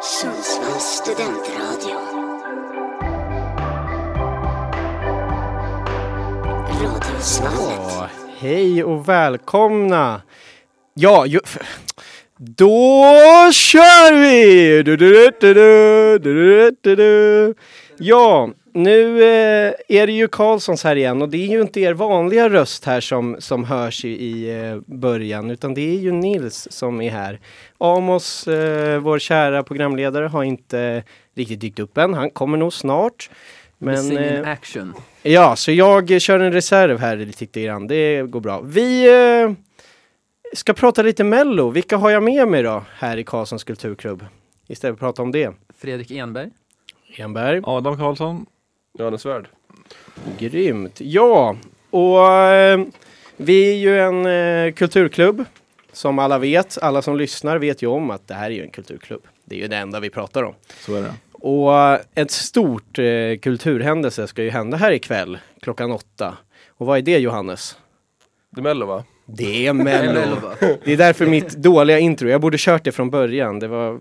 Sundsvalls studentradio. Radiosvallet. Ja, hej och välkomna! Ja, ju, då kör vi! Du, du, du, du, du, du, du. Ja, nu eh, är det ju Karlssons här igen och det är ju inte er vanliga röst här som, som hörs i, i eh, början utan det är ju Nils som är här. Amos, eh, vår kära programledare, har inte riktigt dykt upp än. Han kommer nog snart. Men, Missing in eh, action. Ja, så jag eh, kör en reserv här lite grann. Det går bra. Vi eh, ska prata lite Mello. Vilka har jag med mig då här i Karlssons kulturklubb? Istället för att prata om det. Fredrik Enberg. Enberg. Adam Karlsson. Johannes Svärd. Grymt. Ja, och eh, vi är ju en eh, kulturklubb. Som alla vet, alla som lyssnar vet ju om att det här är ju en kulturklubb. Det är ju det enda vi pratar om. Så är det. Och eh, ett stort eh, kulturhändelse ska ju hända här ikväll klockan åtta. Och vad är det Johannes? Det är Mello va? Det är Mello. Elva. Det är därför mitt dåliga intro, jag borde kört det från början. Det var,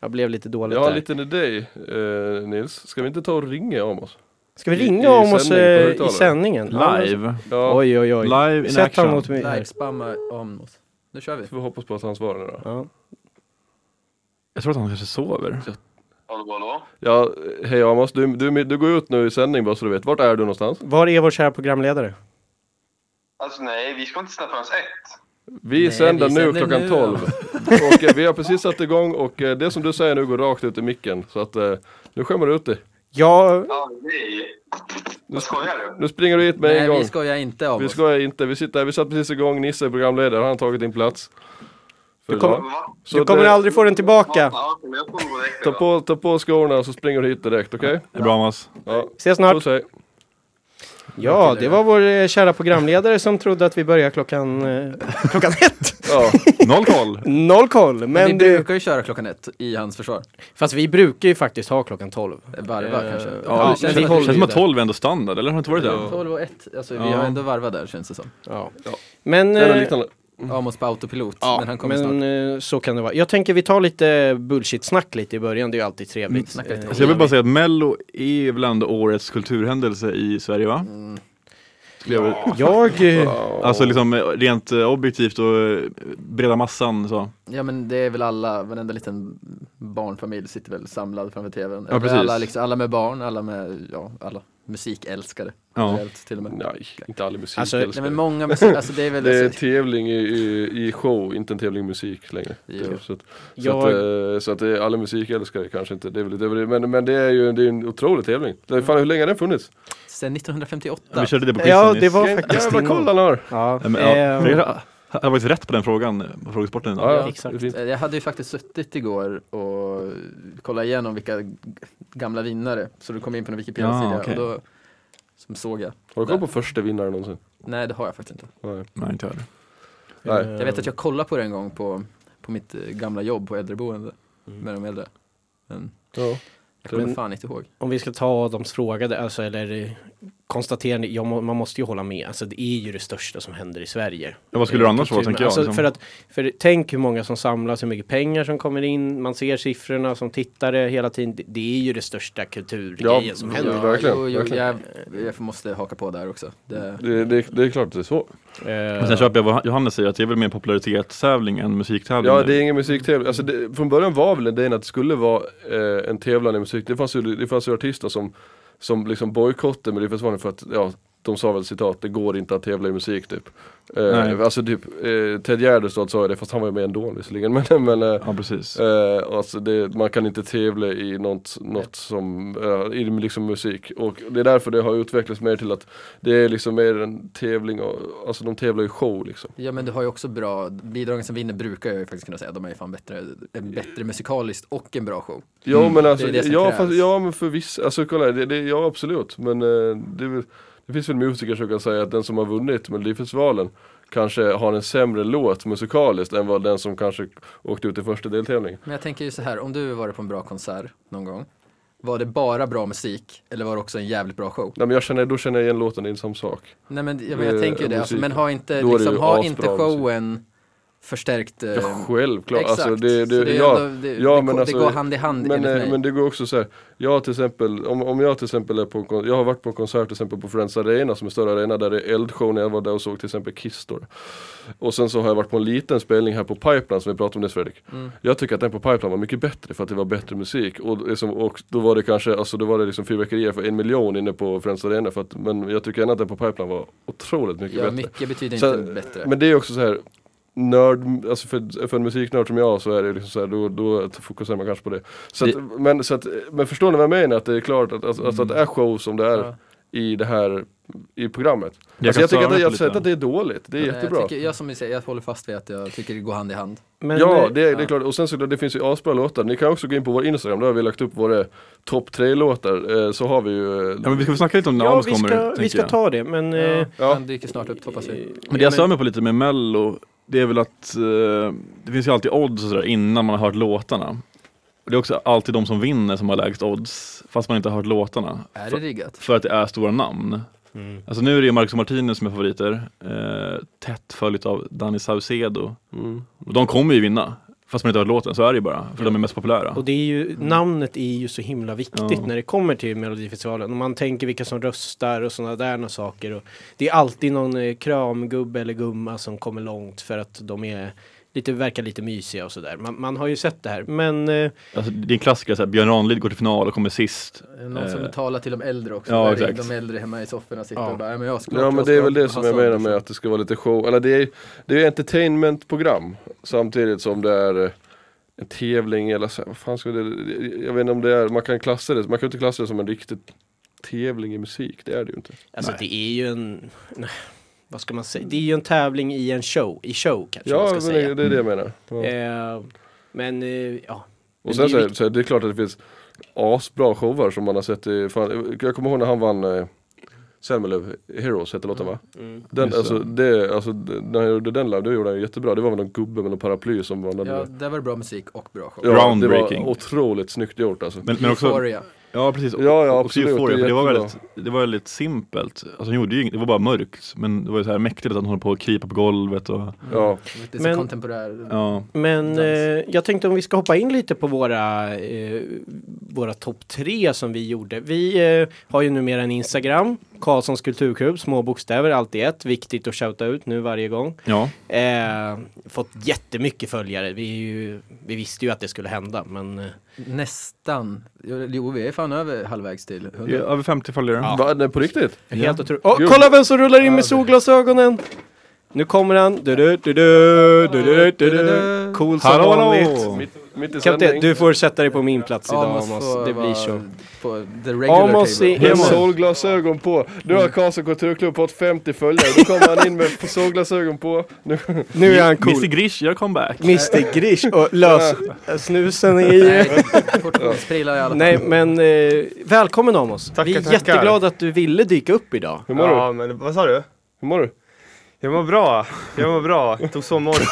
jag blev lite dåligt Jag har en där. liten idé eh, Nils. Ska vi inte ta och ringa Amos? Ska vi i- ringa i om oss sändning, på eh, i högtalare. sändningen? Live. Ja, Oj, oj, oj. Live in Sätt action. honom mot mig. Live spamma om oss. Nu kör vi. så får vi hoppas på att han svarar nu då. Ja. Jag tror att han kanske sover. Ja, hej Amos. Du, du, du går ut nu i sändning bara så du vet. Vart är du någonstans? Var är vår kära programledare? Alltså nej, vi ska inte stanna förrän ett. Vi Nej, sänder vi nu sänder klockan nu, 12. och eh, vi har precis satt igång och eh, det som du säger nu går rakt ut i micken. Så att eh, nu skämmer du ut dig. Ja, Ja, nej. Vad skojar du? Nu springer du hit med en Nej, gång. vi skojar inte om Vi oss. skojar inte. Vi sitter här. Vi satt precis igång. Nisse är programledare. Han har tagit din plats. För Du kommer- idag. Va? Så du kommer det- aldrig få den tillbaka. Ja, men jag får gå direkt Ta idag. på, ta på skorna och så springer du hit direkt, okej? Det är bra Mats. Ja. Ses snart. Puss, hej. Ja, det var vår eh, kära programledare som trodde att vi började klockan, eh, klockan ett. Ja. Noll koll. Noll koll. Men vi Men du, brukar ju köra klockan ett i hans försvar. fast vi brukar ju faktiskt ha klockan tolv. Varva Eh, kanske. Ja, Ja, det vi håller känns, känns som ju att där. 12 är ändå standard, eller har det inte varit det? 12 och 1, alltså vi Ja. har ändå varvat där känns det som. Ja. Ja. Men... Eller eh, liknande. Amos på autopilot, men han kommer men snart. eh, så kan det vara. Jag tänker vi tar lite bullshit-snack lite i början, det är ju alltid Mm, trevligt. snacka lite. Eh, Alltså jag vill bara säga att Mello är väl ändå årets kulturhändelse i Sverige va? Skulle jag väl- Jag, eh, Alltså liksom eh, rent eh, objektivt och eh, breda massan så. Ja men det är väl alla, varenda liten barnfamilj sitter väl samlad framför tvn. Ja, precis. alla, liksom, alla med barn, alla med, ja, alla musikälskare. Ja. Generellt, till och med. Nej, inte all musik. Alltså, Nej älskar men jag. många musik, alltså det är väl det är en alltså, tävling i, i, i show, inte en tävling i musik längre. Jo. Det- Så att, så jag, att, eh, så att det är alla musikälskare kanske inte, det är väl, det är väl, men, men det är ju det är en otrolig tävling. Det är, fan, hur länge har den funnits? sen 1958. Vi körde det på quizen ja nyss. det var Vilken faktiskt jävla din- koll han har! Ja, Ja, men, ja, ehm, Fredrik har- har faktiskt rätt på den frågan eh, på frågesporten idag. Ja, ja, exakt. det är fint. Eh, Jag hade ju faktiskt suttit igår och kollat igenom vilka g- gamla vinnare, så du kom in på en Wikipedia-sida Ja, okej. och då som såg jag. Har du koll på första vinnaren någonsin? Nej, det har jag faktiskt inte. Nej. Nej, inte jag. Nej. Eh. Jag vet att jag kollade på det en gång på, på mitt eh, gamla jobb på äldreboende med de äldre. Men Ja. jag kommer Men- fan inte ihåg. Om vi ska ta Adams fråga, där, alltså, eller eh, konstaterande, ja, må- man måste ju hålla med, alltså det är ju det största som händer i Sverige. Ja, vad skulle det annars vara, Kultur- tänker jag, Alltså, liksom? för att, för tänk hur många som samlas, hur mycket pengar som kommer in, man ser siffrorna som tittare hela tiden. Det, det är ju det största kulturgrejen som ja, händer. verkligen. jo, jo, verkligen. jag, jag måste haka på där också. Det, Det, det, det är klart att det är så. Eh, Men sen köper jag vad Johannes säger, att det är väl mer popularitetstävling än musiktävling. Ja, nu. det är ingen musiktävling. Alltså det, från början var väl idén att det skulle vara eh, en tävlan i musik. Det fanns ju, det fanns ju artister som, som liksom bojkottade Melodifestivalen för att, ja, de sa väl citat, det går inte att tävla i musik typ. Nej. Eh, alltså typ, eh, Ted Gärdestad sa ju det, fast han var ju med ändå visserligen. Men, men eh, ja precis. eh, alltså det, man kan inte tävla i något, något som, eh, i liksom musik. Och det är därför det har utvecklats mer till att det är liksom mer en tävling, och, alltså de tävlar i show liksom. ja men du har ju också bra, bidragen som vinner brukar jag ju faktiskt kunna säga, de är ju fan bättre, en bättre musikaliskt och en bra show. Ja men alltså, Mm. Det är det som ja, krävs. fast, ja men för vissa, alltså kolla, det, det, ja absolut. Men eh, det, är väl- det finns väl musiker som kan säga att den som har vunnit Melodifestivalen kanske har en sämre låt musikaliskt än vad den som kanske åkte ut i första deltävlingen. Men jag tänker ju så här, om du varit på en bra konsert någon gång, var det bara bra musik eller var det också en jävligt bra show? Nej men jag känner, då känner jag igen låten, det är en samma sak. Nej men jag, men jag Eh, tänker ju det, alltså, musik. men ha inte, Då är det liksom, ju ha asbra inte showen förstärkt. eh, Ja, självklart. Exakt. Alltså, det, Så det, är ja, ändå- det, ja, det, men det alltså- går hand i hand men, enligt eh, mig. men det går också så här. Jag till exempel, om, om jag till exempel är på en kon- jag har varit på en konsert till exempel på Friends Arena som är en större arena där det är eldshow när jag var där och såg till exempel Kiss då. Och sen så har jag varit på en liten spelning här på Pipeline som vi pratade om nyss Fredrik. Mm. Jag tycker att den på Pipeline var mycket bättre för att det var bättre musik och, liksom, och då var det kanske, alltså då var det liksom fyrverkerier för en miljon inne på Friends Arena för att, men jag tycker ändå att den på Pipeline var otroligt mycket ja, bättre. mycket betyder Så- inte bättre. Men det är också så här Nörd, alltså för, för en musiknörd som jag så är det liksom så här, då, då fokuserar man kanske på det. Så att, men, så att, men förstår ni vad jag menar? Att det är klart att, alltså, alltså att det är show som det är Ja. i det här i programmet. Jag Jag, alltså, kan jag tycker störa att, mig på det- jag lite. säger inte att det är dåligt, det är Nej, jättebra. Eh, Jag, tycker, jag som vi säger, jag håller fast vid att jag tycker det går hand i hand. Men, ja, eh, det, är- det är klart. Och sen så det finns ju asbra låtar. Ni kan också gå in på vår Instagram, där har vi lagt upp våra topp tre låtar. Eh, Så har vi ju... eh, Ja, men vi ska väl snacka lite om när ja, Amos vi kommer, ska, vi tänker ska jag. ta det, men... eh, Ja. Han dyker snart upp hoppas vi. Men det jag stör mig på lite med mello, det är väl att eh, det finns ju alltid odds och sådär innan man har hört låtarna. Och det är också alltid de som vinner som har lägst odds, fast man inte har hört låtarna. Är det För, riggat? för att det är stora namn. Mm. Alltså nu är det ju Marcus och Martinez som är favoriter, eh, tätt följt av Danny Saucedo. Mm. Och de kommer ju vinna, fast man inte har hört låten, så är det ju bara, för de är mest populära. Och det är ju, Mm. namnet är ju så himla viktigt Ja. när det kommer till Melodifestivalen. Om man tänker vilka som röstar och sådana där nå saker. Och det är alltid någon eh, kramgubbe eller gumma som kommer långt för att de är lite, verkar lite mysiga och sådär. Man, man har ju sett det här. Men eh, Alltså, det är en klassiker, så här, Björn Ranelid går till final och kommer sist. Är det Någon Eh. som talar till de äldre också. Ja, Där exakt. De äldre hemma i sofforna sitter Ja. och bara, "Nej, men jag ska Ja men det är väl det som jag menar med att det ska vara lite show, eller det är, det är entertainmentprogram samtidigt som det är eh, en tävling eller så, vad fan ska det, jag vet inte om det är, man kan klassa det, man kan ju inte klassa det som en riktig tävling i musik, det är det ju inte. alltså det är ju en, vad ska man säga, det är ju en tävling i en show, i show kanske man Ja ska men säga. det, det är det jag menar. Ja. Eh, men eh, ja. Men Och sen det så är är, vikt- så är det klart att det finns asbra showar som man har sett i, fan, jag kommer ihåg när han vann eh, Selmelöv Heroes hette låten va? Mm. Den, Just det. alltså, det, alltså, det- när han gjorde den live, då gjorde han jättebra. Det var väl någon gubbe med någon paraply som vann Ja, det var bra musik och bra show. Ja, Groundbreaking. Det var otroligt snyggt gjort alltså. Men, men också, Euphoria. Ja precis, och, Ja, ja, också absolut. Euphoria, Det är för det var, jättebra. väldigt, det var väldigt simpelt. Alltså hon gjorde ju inget, det var bara mörkt. Men det var ju så här mäktigt att hon höll på att krypa på golvet och Ja. Lite så Men- kontemporär. ja. Men Dans. eh, jag tänkte om vi ska hoppa in lite på våra, eh, våra topp tre som vi gjorde. Vi eh, har ju numera en Instagram, Karlssons kulturklubb, små bokstäver, allt i ett. Viktigt att shouta ut nu varje gång. ja. Eh, fått jättemycket följare. Vi, är ju, vi visste ju att det skulle hända, men eh, Nästan. Jo, vi är fan över halvvägs till 100. Det är Över 50 följare. Va, nej, på riktigt? helt Ja. otroligt. Åh, Jo. kolla vem som rullar in med solglasögonen! Nu kommer han. Du, du, du, du, du, du, du, du. Cool som Hallå, vanligt. hallå! Mitt, mitt i Kapten, sändning. du får sätta dig på min plats idag Amos Amos. får Det blir vara så. På the regular Amos table. i- Med Amos. solglasögon på. Nu har Karlsson Kulturklubb fått 50 följare. Då kommer han in med solglasögon på. Nu, Nu är han cool. Mr Grish gör comeback. Mr Grish och lös snusen i... Nej, portionsprylar i alla fall. Nej men eh, välkommen Amos. Tackar, Vi är tackar. jätteglada att du ville dyka upp idag. hur mår ja, du? men vad sa du? Hur mår du? Jag mår bra, jag mår bra. Jag Tog sovmorgon.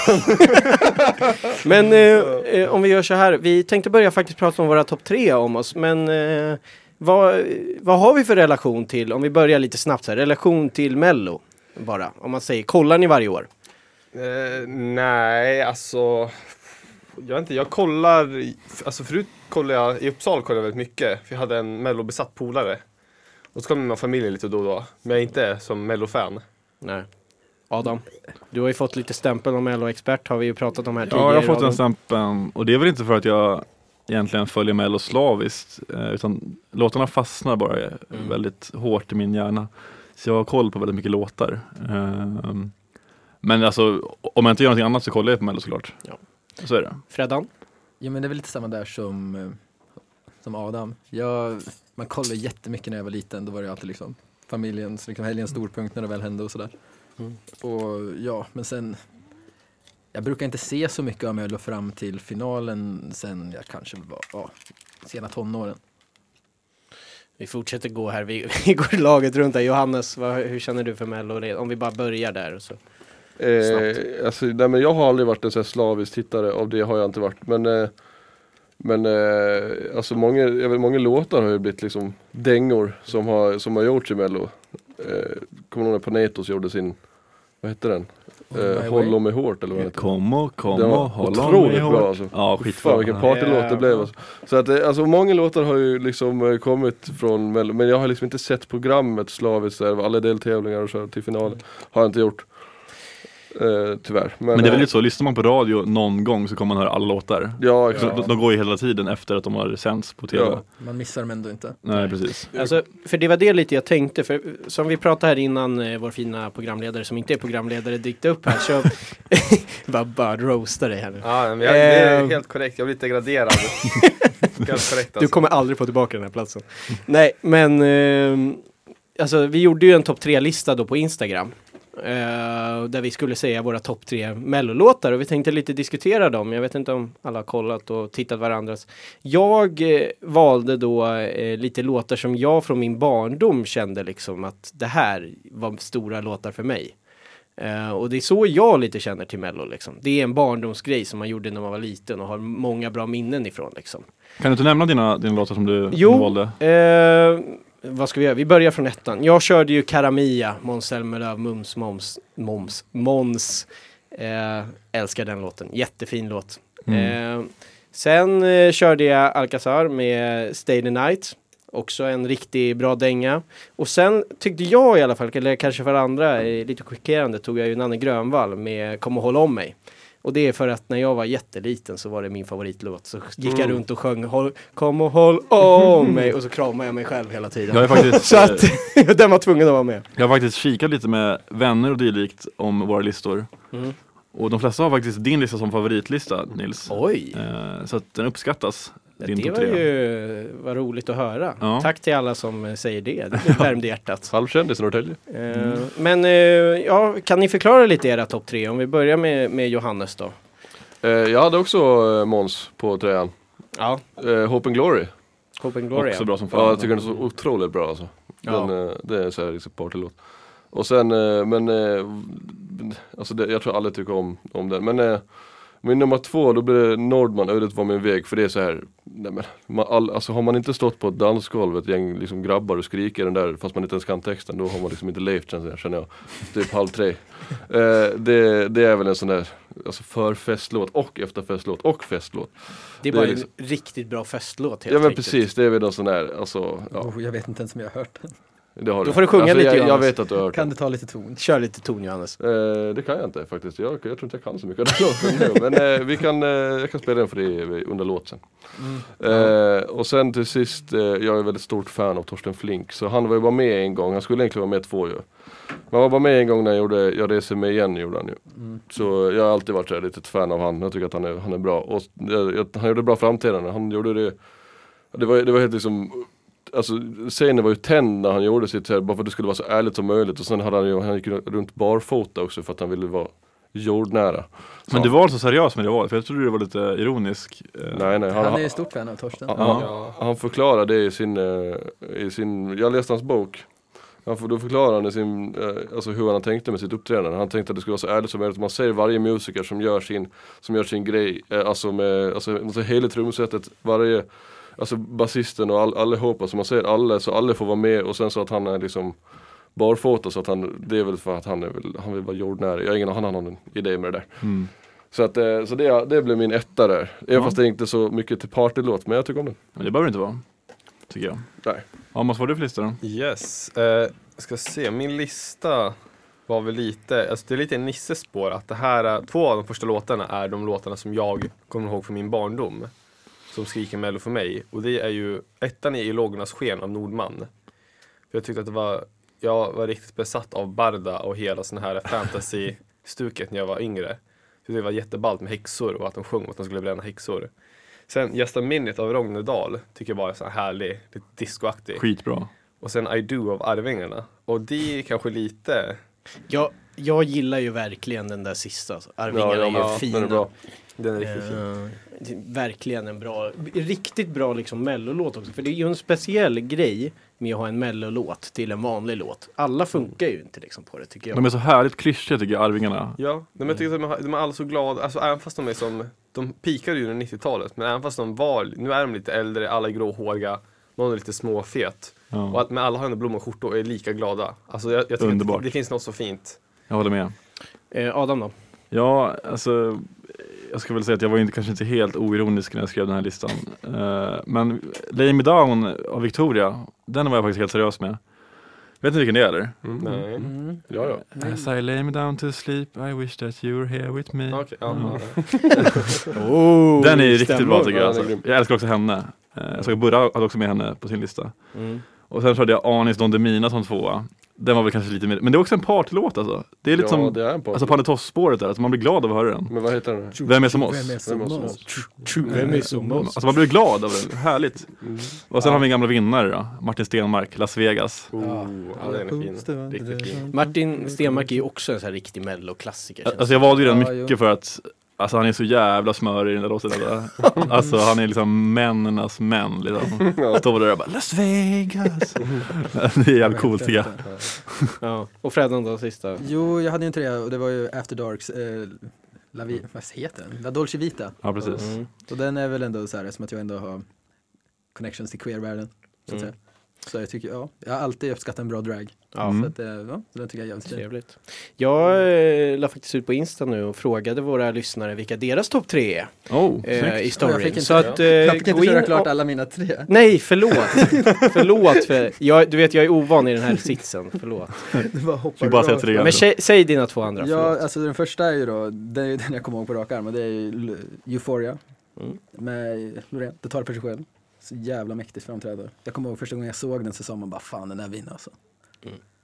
Men eh, eh, om vi gör så här, vi tänkte börja faktiskt prata om våra topp tre Amos, men eh, vad, vad har vi för relation till, om vi börjar lite snabbt så här, relation till Mello? Bara, om man säger, kollar ni varje år? eh, nej, alltså. Jag, vet inte, jag kollar, alltså förut kollade jag, i Uppsala kollade jag väldigt mycket. För jag hade en mellobesatt polare. Och så kollade jag med familjen lite då och då. Men jag är inte som mellofan. Nej. Adam, du har ju fått lite stämpeln om Mello-expert, har vi ju pratat om här tidigare. Ja, jag har fått den Adam. stämpeln. Och det är väl inte för att jag egentligen följer Mello slaviskt. eh, Utan låtarna fastnar bara eh, Mm. väldigt hårt i min hjärna. Så jag har koll på väldigt mycket låtar. Ehm, Men alltså, om jag inte gör någonting annat så kollar jag på Mello såklart. Ja. Så är det. Freddan? Jo men det är väl lite samma där som, eh, som Adam. Jag, man kollade jättemycket när jag var liten, då var det alltid liksom familjens, liksom helgens Mm. storpunkt när det väl hände och sådär. Och ja, men sen jag brukar inte se så mycket av Mello fram till finalen sen jag kanske var, ja, sena tonåren. Vi fortsätter gå här, vi, vi går laget runt där. Johannes, vad, hur känner du för Mello? Om vi bara börjar där. och Så. Snabbt. Eh, alltså, nej, men jag har aldrig varit en sån här slavisk tittare, av det har jag inte varit. Men, eh, men eh, alltså många, jag vet, många låtar har ju blivit liksom dängor som har, som har gjorts i Mello. Eh, kommer du ihåg när Panetos gjorde sin, vad hette den? eh, My Håll Way. om mig hårt eller vad det heter. Kom och kom Den var och håll om otroligt mig bra, hårt. alltså. Ja, Fan vilken skitbra. partylåt det blev alltså. Så att eh, alltså många låtar har ju liksom eh, kommit från Mello, men jag har liksom inte sett programmet slaviskt där, alla deltävlingar och så här till finalen. Har jag inte gjort. Eh, tyvärr. Men, Men det är väl eh, lite så, lyssnar man på radio någon gång så kommer man höra alla låtar. Ja Så exakt. de, de går ju hela tiden efter att de har sänts på tv. Ja. Man missar dem ändå inte. Nej, precis. Alltså, för det var det lite jag tänkte, för eh, som vi pratade här innan eh, vår fina programledare som inte är programledare dykte upp här så... bara, bara roasta dig här nu. Ja, men jag, det är Ehm. helt korrekt. Jag blir degraderad. helt korrekt Du alltså. kommer aldrig få tillbaka den här platsen. Nej, men ehm, alltså, vi gjorde ju en topp tre-lista då på Instagram. eh, där vi skulle säga våra topp tre mellolåtar och vi tänkte lite diskutera dem. Jag vet inte om alla har kollat och tittat varandras. Jag eh, valde då eh, lite låtar som jag från min barndom kände liksom att det här var stora låtar för mig. Eh, och det är så jag lite känner till Mello liksom. Det är en barndomsgrej som man gjorde när man var liten och har många bra minnen ifrån liksom. Kan du inte nämna dina, dina låtar som du Jo. valde? Eh, vad ska vi göra? Vi börjar från ettan. Jag körde ju Karamia, Måns Zelmerlöw, Mums, Moms, Moms, Måns. Eh, älskar den låten, jättefin låt. Eh, sen eh, körde jag Alcazar med Stay the Night. Också en riktigt bra dänga. Och sen tyckte jag i alla fall, eller kanske för andra, eh, lite chockerande, tog jag ju Nanne Grönvall med Kom och håll om mig. Och det är för att när jag var jätteliten så var det min favoritlåt. Så gick jag runt och sjöng håll, Kom och håll om mig och så kramade jag mig själv hela tiden. Jag är faktiskt, eh, Så att den var tvungen att vara med. Jag har faktiskt kikat lite med vänner och dylikt om våra listor. Mm. Och de flesta har faktiskt din lista som favoritlista Nils. Oj! Eh, Så att den uppskattas. Din det topp var tre. ju var roligt att höra. Ja. Tack till alla som eh, säger det. Det värmde hjärtat. Halvkändis i Norrtälje. Eh, Men eh, ja, kan ni förklara lite era topp tre? Om vi börjar med, med Johannes då. Eh, jag hade också eh, Måns på tröjan. Ja. Eh, Hope and Glory. Hope and Glory. Också bra som fan. Ja, jag tycker den är så otroligt bra alltså. Den, eh, Det är så här liksom partylåt. Och sen, eh, men eh, alltså det, jag tror alla tycker om, om den. Men eh, min nummer två, då blir det Nordman, Ödet var min väg. För det är så här, nej men, man, all, alltså har man inte stått på ett dansgolv, ett gäng liksom grabbar och skriker den där, fast man inte ens kan texten, då har man liksom inte levt känns det, känner jag. Typ halv tre. Eh, det, det är väl en sån där, alltså förfestlåt och efterfestlåt och festlåt. Det är det är bara en liksom- riktigt bra festlåt helt Ja men enkelt. precis, det är väl en sån där, alltså ja. Oh, jag vet inte ens om jag har hört den. Det har Alltså, Då får du sjunga lite, jag, jag Johannes. vet att du har hört Kan kan... du ta lite ton? Kör lite ton Johannes. Det kan jag inte faktiskt. Jag, jag tror inte jag kan så mycket av den låten. Men eh, vi kan, eh, jag kan spela den för dig eh, under låt sen. Eh, och sen till sist, eh, jag är väldigt stort fan av Torsten Flink Så han var ju bara med en gång. Han skulle egentligen vara med två ju. Men han var bara med en gång när jag gjorde Jag reser mig igen gjorde han ju. Så jag har alltid varit så här, lite ett fan av han. Jag tycker att han är, han är bra. Och jag, jag, han gjorde bra framträdande. Han gjorde det Det var, det var helt liksom Alltså scenen var ju tänd när han gjorde sitt så här, bara för att det skulle vara så ärligt som möjligt och sen hade han ju, han gick ju runt barfota också för att han ville vara jordnära. Men du var alltså seriös med det valet? För jag trodde du var lite ironisk. Eh, Nej nej, han, Han är han, ju stort fan av Torsten. Ja. han förklarar det i sin, eh, i sin, jag läste hans bok. Han får, då förklarar han i sin, eh, alltså hur han tänkte med sitt uppträdande. Han tänkte att det skulle vara så ärligt som möjligt. Man ser varje musiker som gör sin, som gör sin grej, eh, alltså med, alltså, alltså hela trumsetet, varje, alltså basisten och all, allihopa, så man ser alla, så alla får vara med och sen så att han är liksom barfota så att han, det är väl för att han, är väl, han vill vara jordnära. Jag har ingen han har någon idé med det där. Mm. Så, att, eh, så det, det blev min etta där. Även Ja. fast det är inte så mycket till partylåt, men jag tycker om den. Men det behöver det inte vara. Tycker jag. Nej. Ja, vad var du för lista då? Yes. Eh, ska se, min lista var väl lite, alltså det är lite i Nisses spår att det här, är- två av de första låtarna är de låtarna som jag kommer ihåg från min barndom. Som skriker Mello för mig. Och det är ju, ettan är I lågornas sken av Nordman. För jag tyckte att det var, jag var riktigt besatt av Barda och hela sån här fantasy-stuket när jag var yngre. Så det var jätteballt med häxor och att de sjöng om att de skulle bränna häxor. Sen Gösta Minnet av Rognedal tycker jag bara är så här härlig, lite discoaktig. Skitbra. Och sen I Do av Arvingarna. Och det är kanske lite... Jag, jag gillar ju verkligen den där sista. alltså. Arvingarna är ja, ju ja, den fina. är bra. Den är riktigt fin. Eh, det är verkligen en bra, riktigt bra liksom mellolåt också. För det är ju en speciell grej med att ha en mellolåt till en vanlig låt. Alla funkar ju inte liksom på det tycker jag. De är så härligt klyschiga tycker jag, Arvingarna. Ja, nej, men jag tycker att de, har- de är alla så glada. Alltså även fast de är som... De pikade ju under 90-talet, men även fast de var... Nu är de lite äldre, alla är gråhåriga. Någon är lite småfet. Ja. Och att, men alla har ändå blommor och skjortor och är lika glada. Alltså jag, jag tycker Underbart. att det, det finns något så fint. Jag håller med. Eh, Adam då? Ja, alltså jag ska väl säga att jag var inte, kanske inte helt oironisk när jag skrev den här listan. Eh, men Lay Me Down av Victoria, den var jag faktiskt helt seriös med. Vet ni vilken det är eller? Nej. Mm. Ja, ja. As I lay me down to sleep I wish that you were here with me. Okej, ja, Mm. ja. Oh, Den är ju riktigt bra tycker jag. Ja, Alltså. den är grym. Jag älskar också henne. Eh, Jag såg att Burra hade också med henne på sin lista. Mm. Och sen körde jag Anis Don Demina som tvåa. Den var väl kanske lite mer, men det är också en partylåt alltså. Det är lite ja, som det är en part. alltså, Panetoz-spåret där, alltså, man blir glad av att höra den. Men vad heter den? här? Vem är som oss? Vem är som Vem är som oss? Vem är som oss? Alltså man blir glad av det, härligt. Mm. Och sen har vi en gamla vinnare då, Martin Stenmark, Las Vegas. Oh, ja, den är fin. Riktigt fin. Martin Stenmarck är ju också en sån här riktig melloklassiker. känns Alltså jag valde ju den Ja, mycket jo. för att Alltså han är så jävla smörig i den där låten. alltså. Alltså han är liksom männenas män. Liksom. Står där och bara Las Vegas. Det är jävligt coolt tycker jag. alltså- det. ja. Och Fredan då, sista? Jo, jag hade ju en trea och det var ju After Darks, eh, La, Vi- vad heter den? La Dolce Vita. Ja precis. Mm. Och den är väl ändå så här, som att jag ändå har connections till queervärlden. Så, att säga. så jag tycker, ja, jag har alltid uppskattat en bra drag. Mm. Ja. Eh, Så att, eh, ja, så den tycker jag är jävligt fin. Trevligt. Jag eh, la faktiskt ut på Insta nu och frågade våra lyssnare vilka deras topp tre är Oh, eh, snyggt. i Och jag fick storyn. inte- Så att, eh, Jag fick gå inte in köra klart och- alla mina tre. Nej, förlåt! förlåt, för jag, du vet jag är ovan i den här sitsen. Förlåt. Det bara hoppar Fick bara säga rakt. tre. Men säg, säg dina två andra. Ja, förlåt. alltså den första är ju då, det är ju den jag kommer ihåg på rak arm och det är ju L- Euphoria Mm. med Loreen, Det tar för sig själv. Så jävla mäktigt framträdande. Jag kommer ihåg första gången jag såg den så sa man bara fan den där vinner alltså.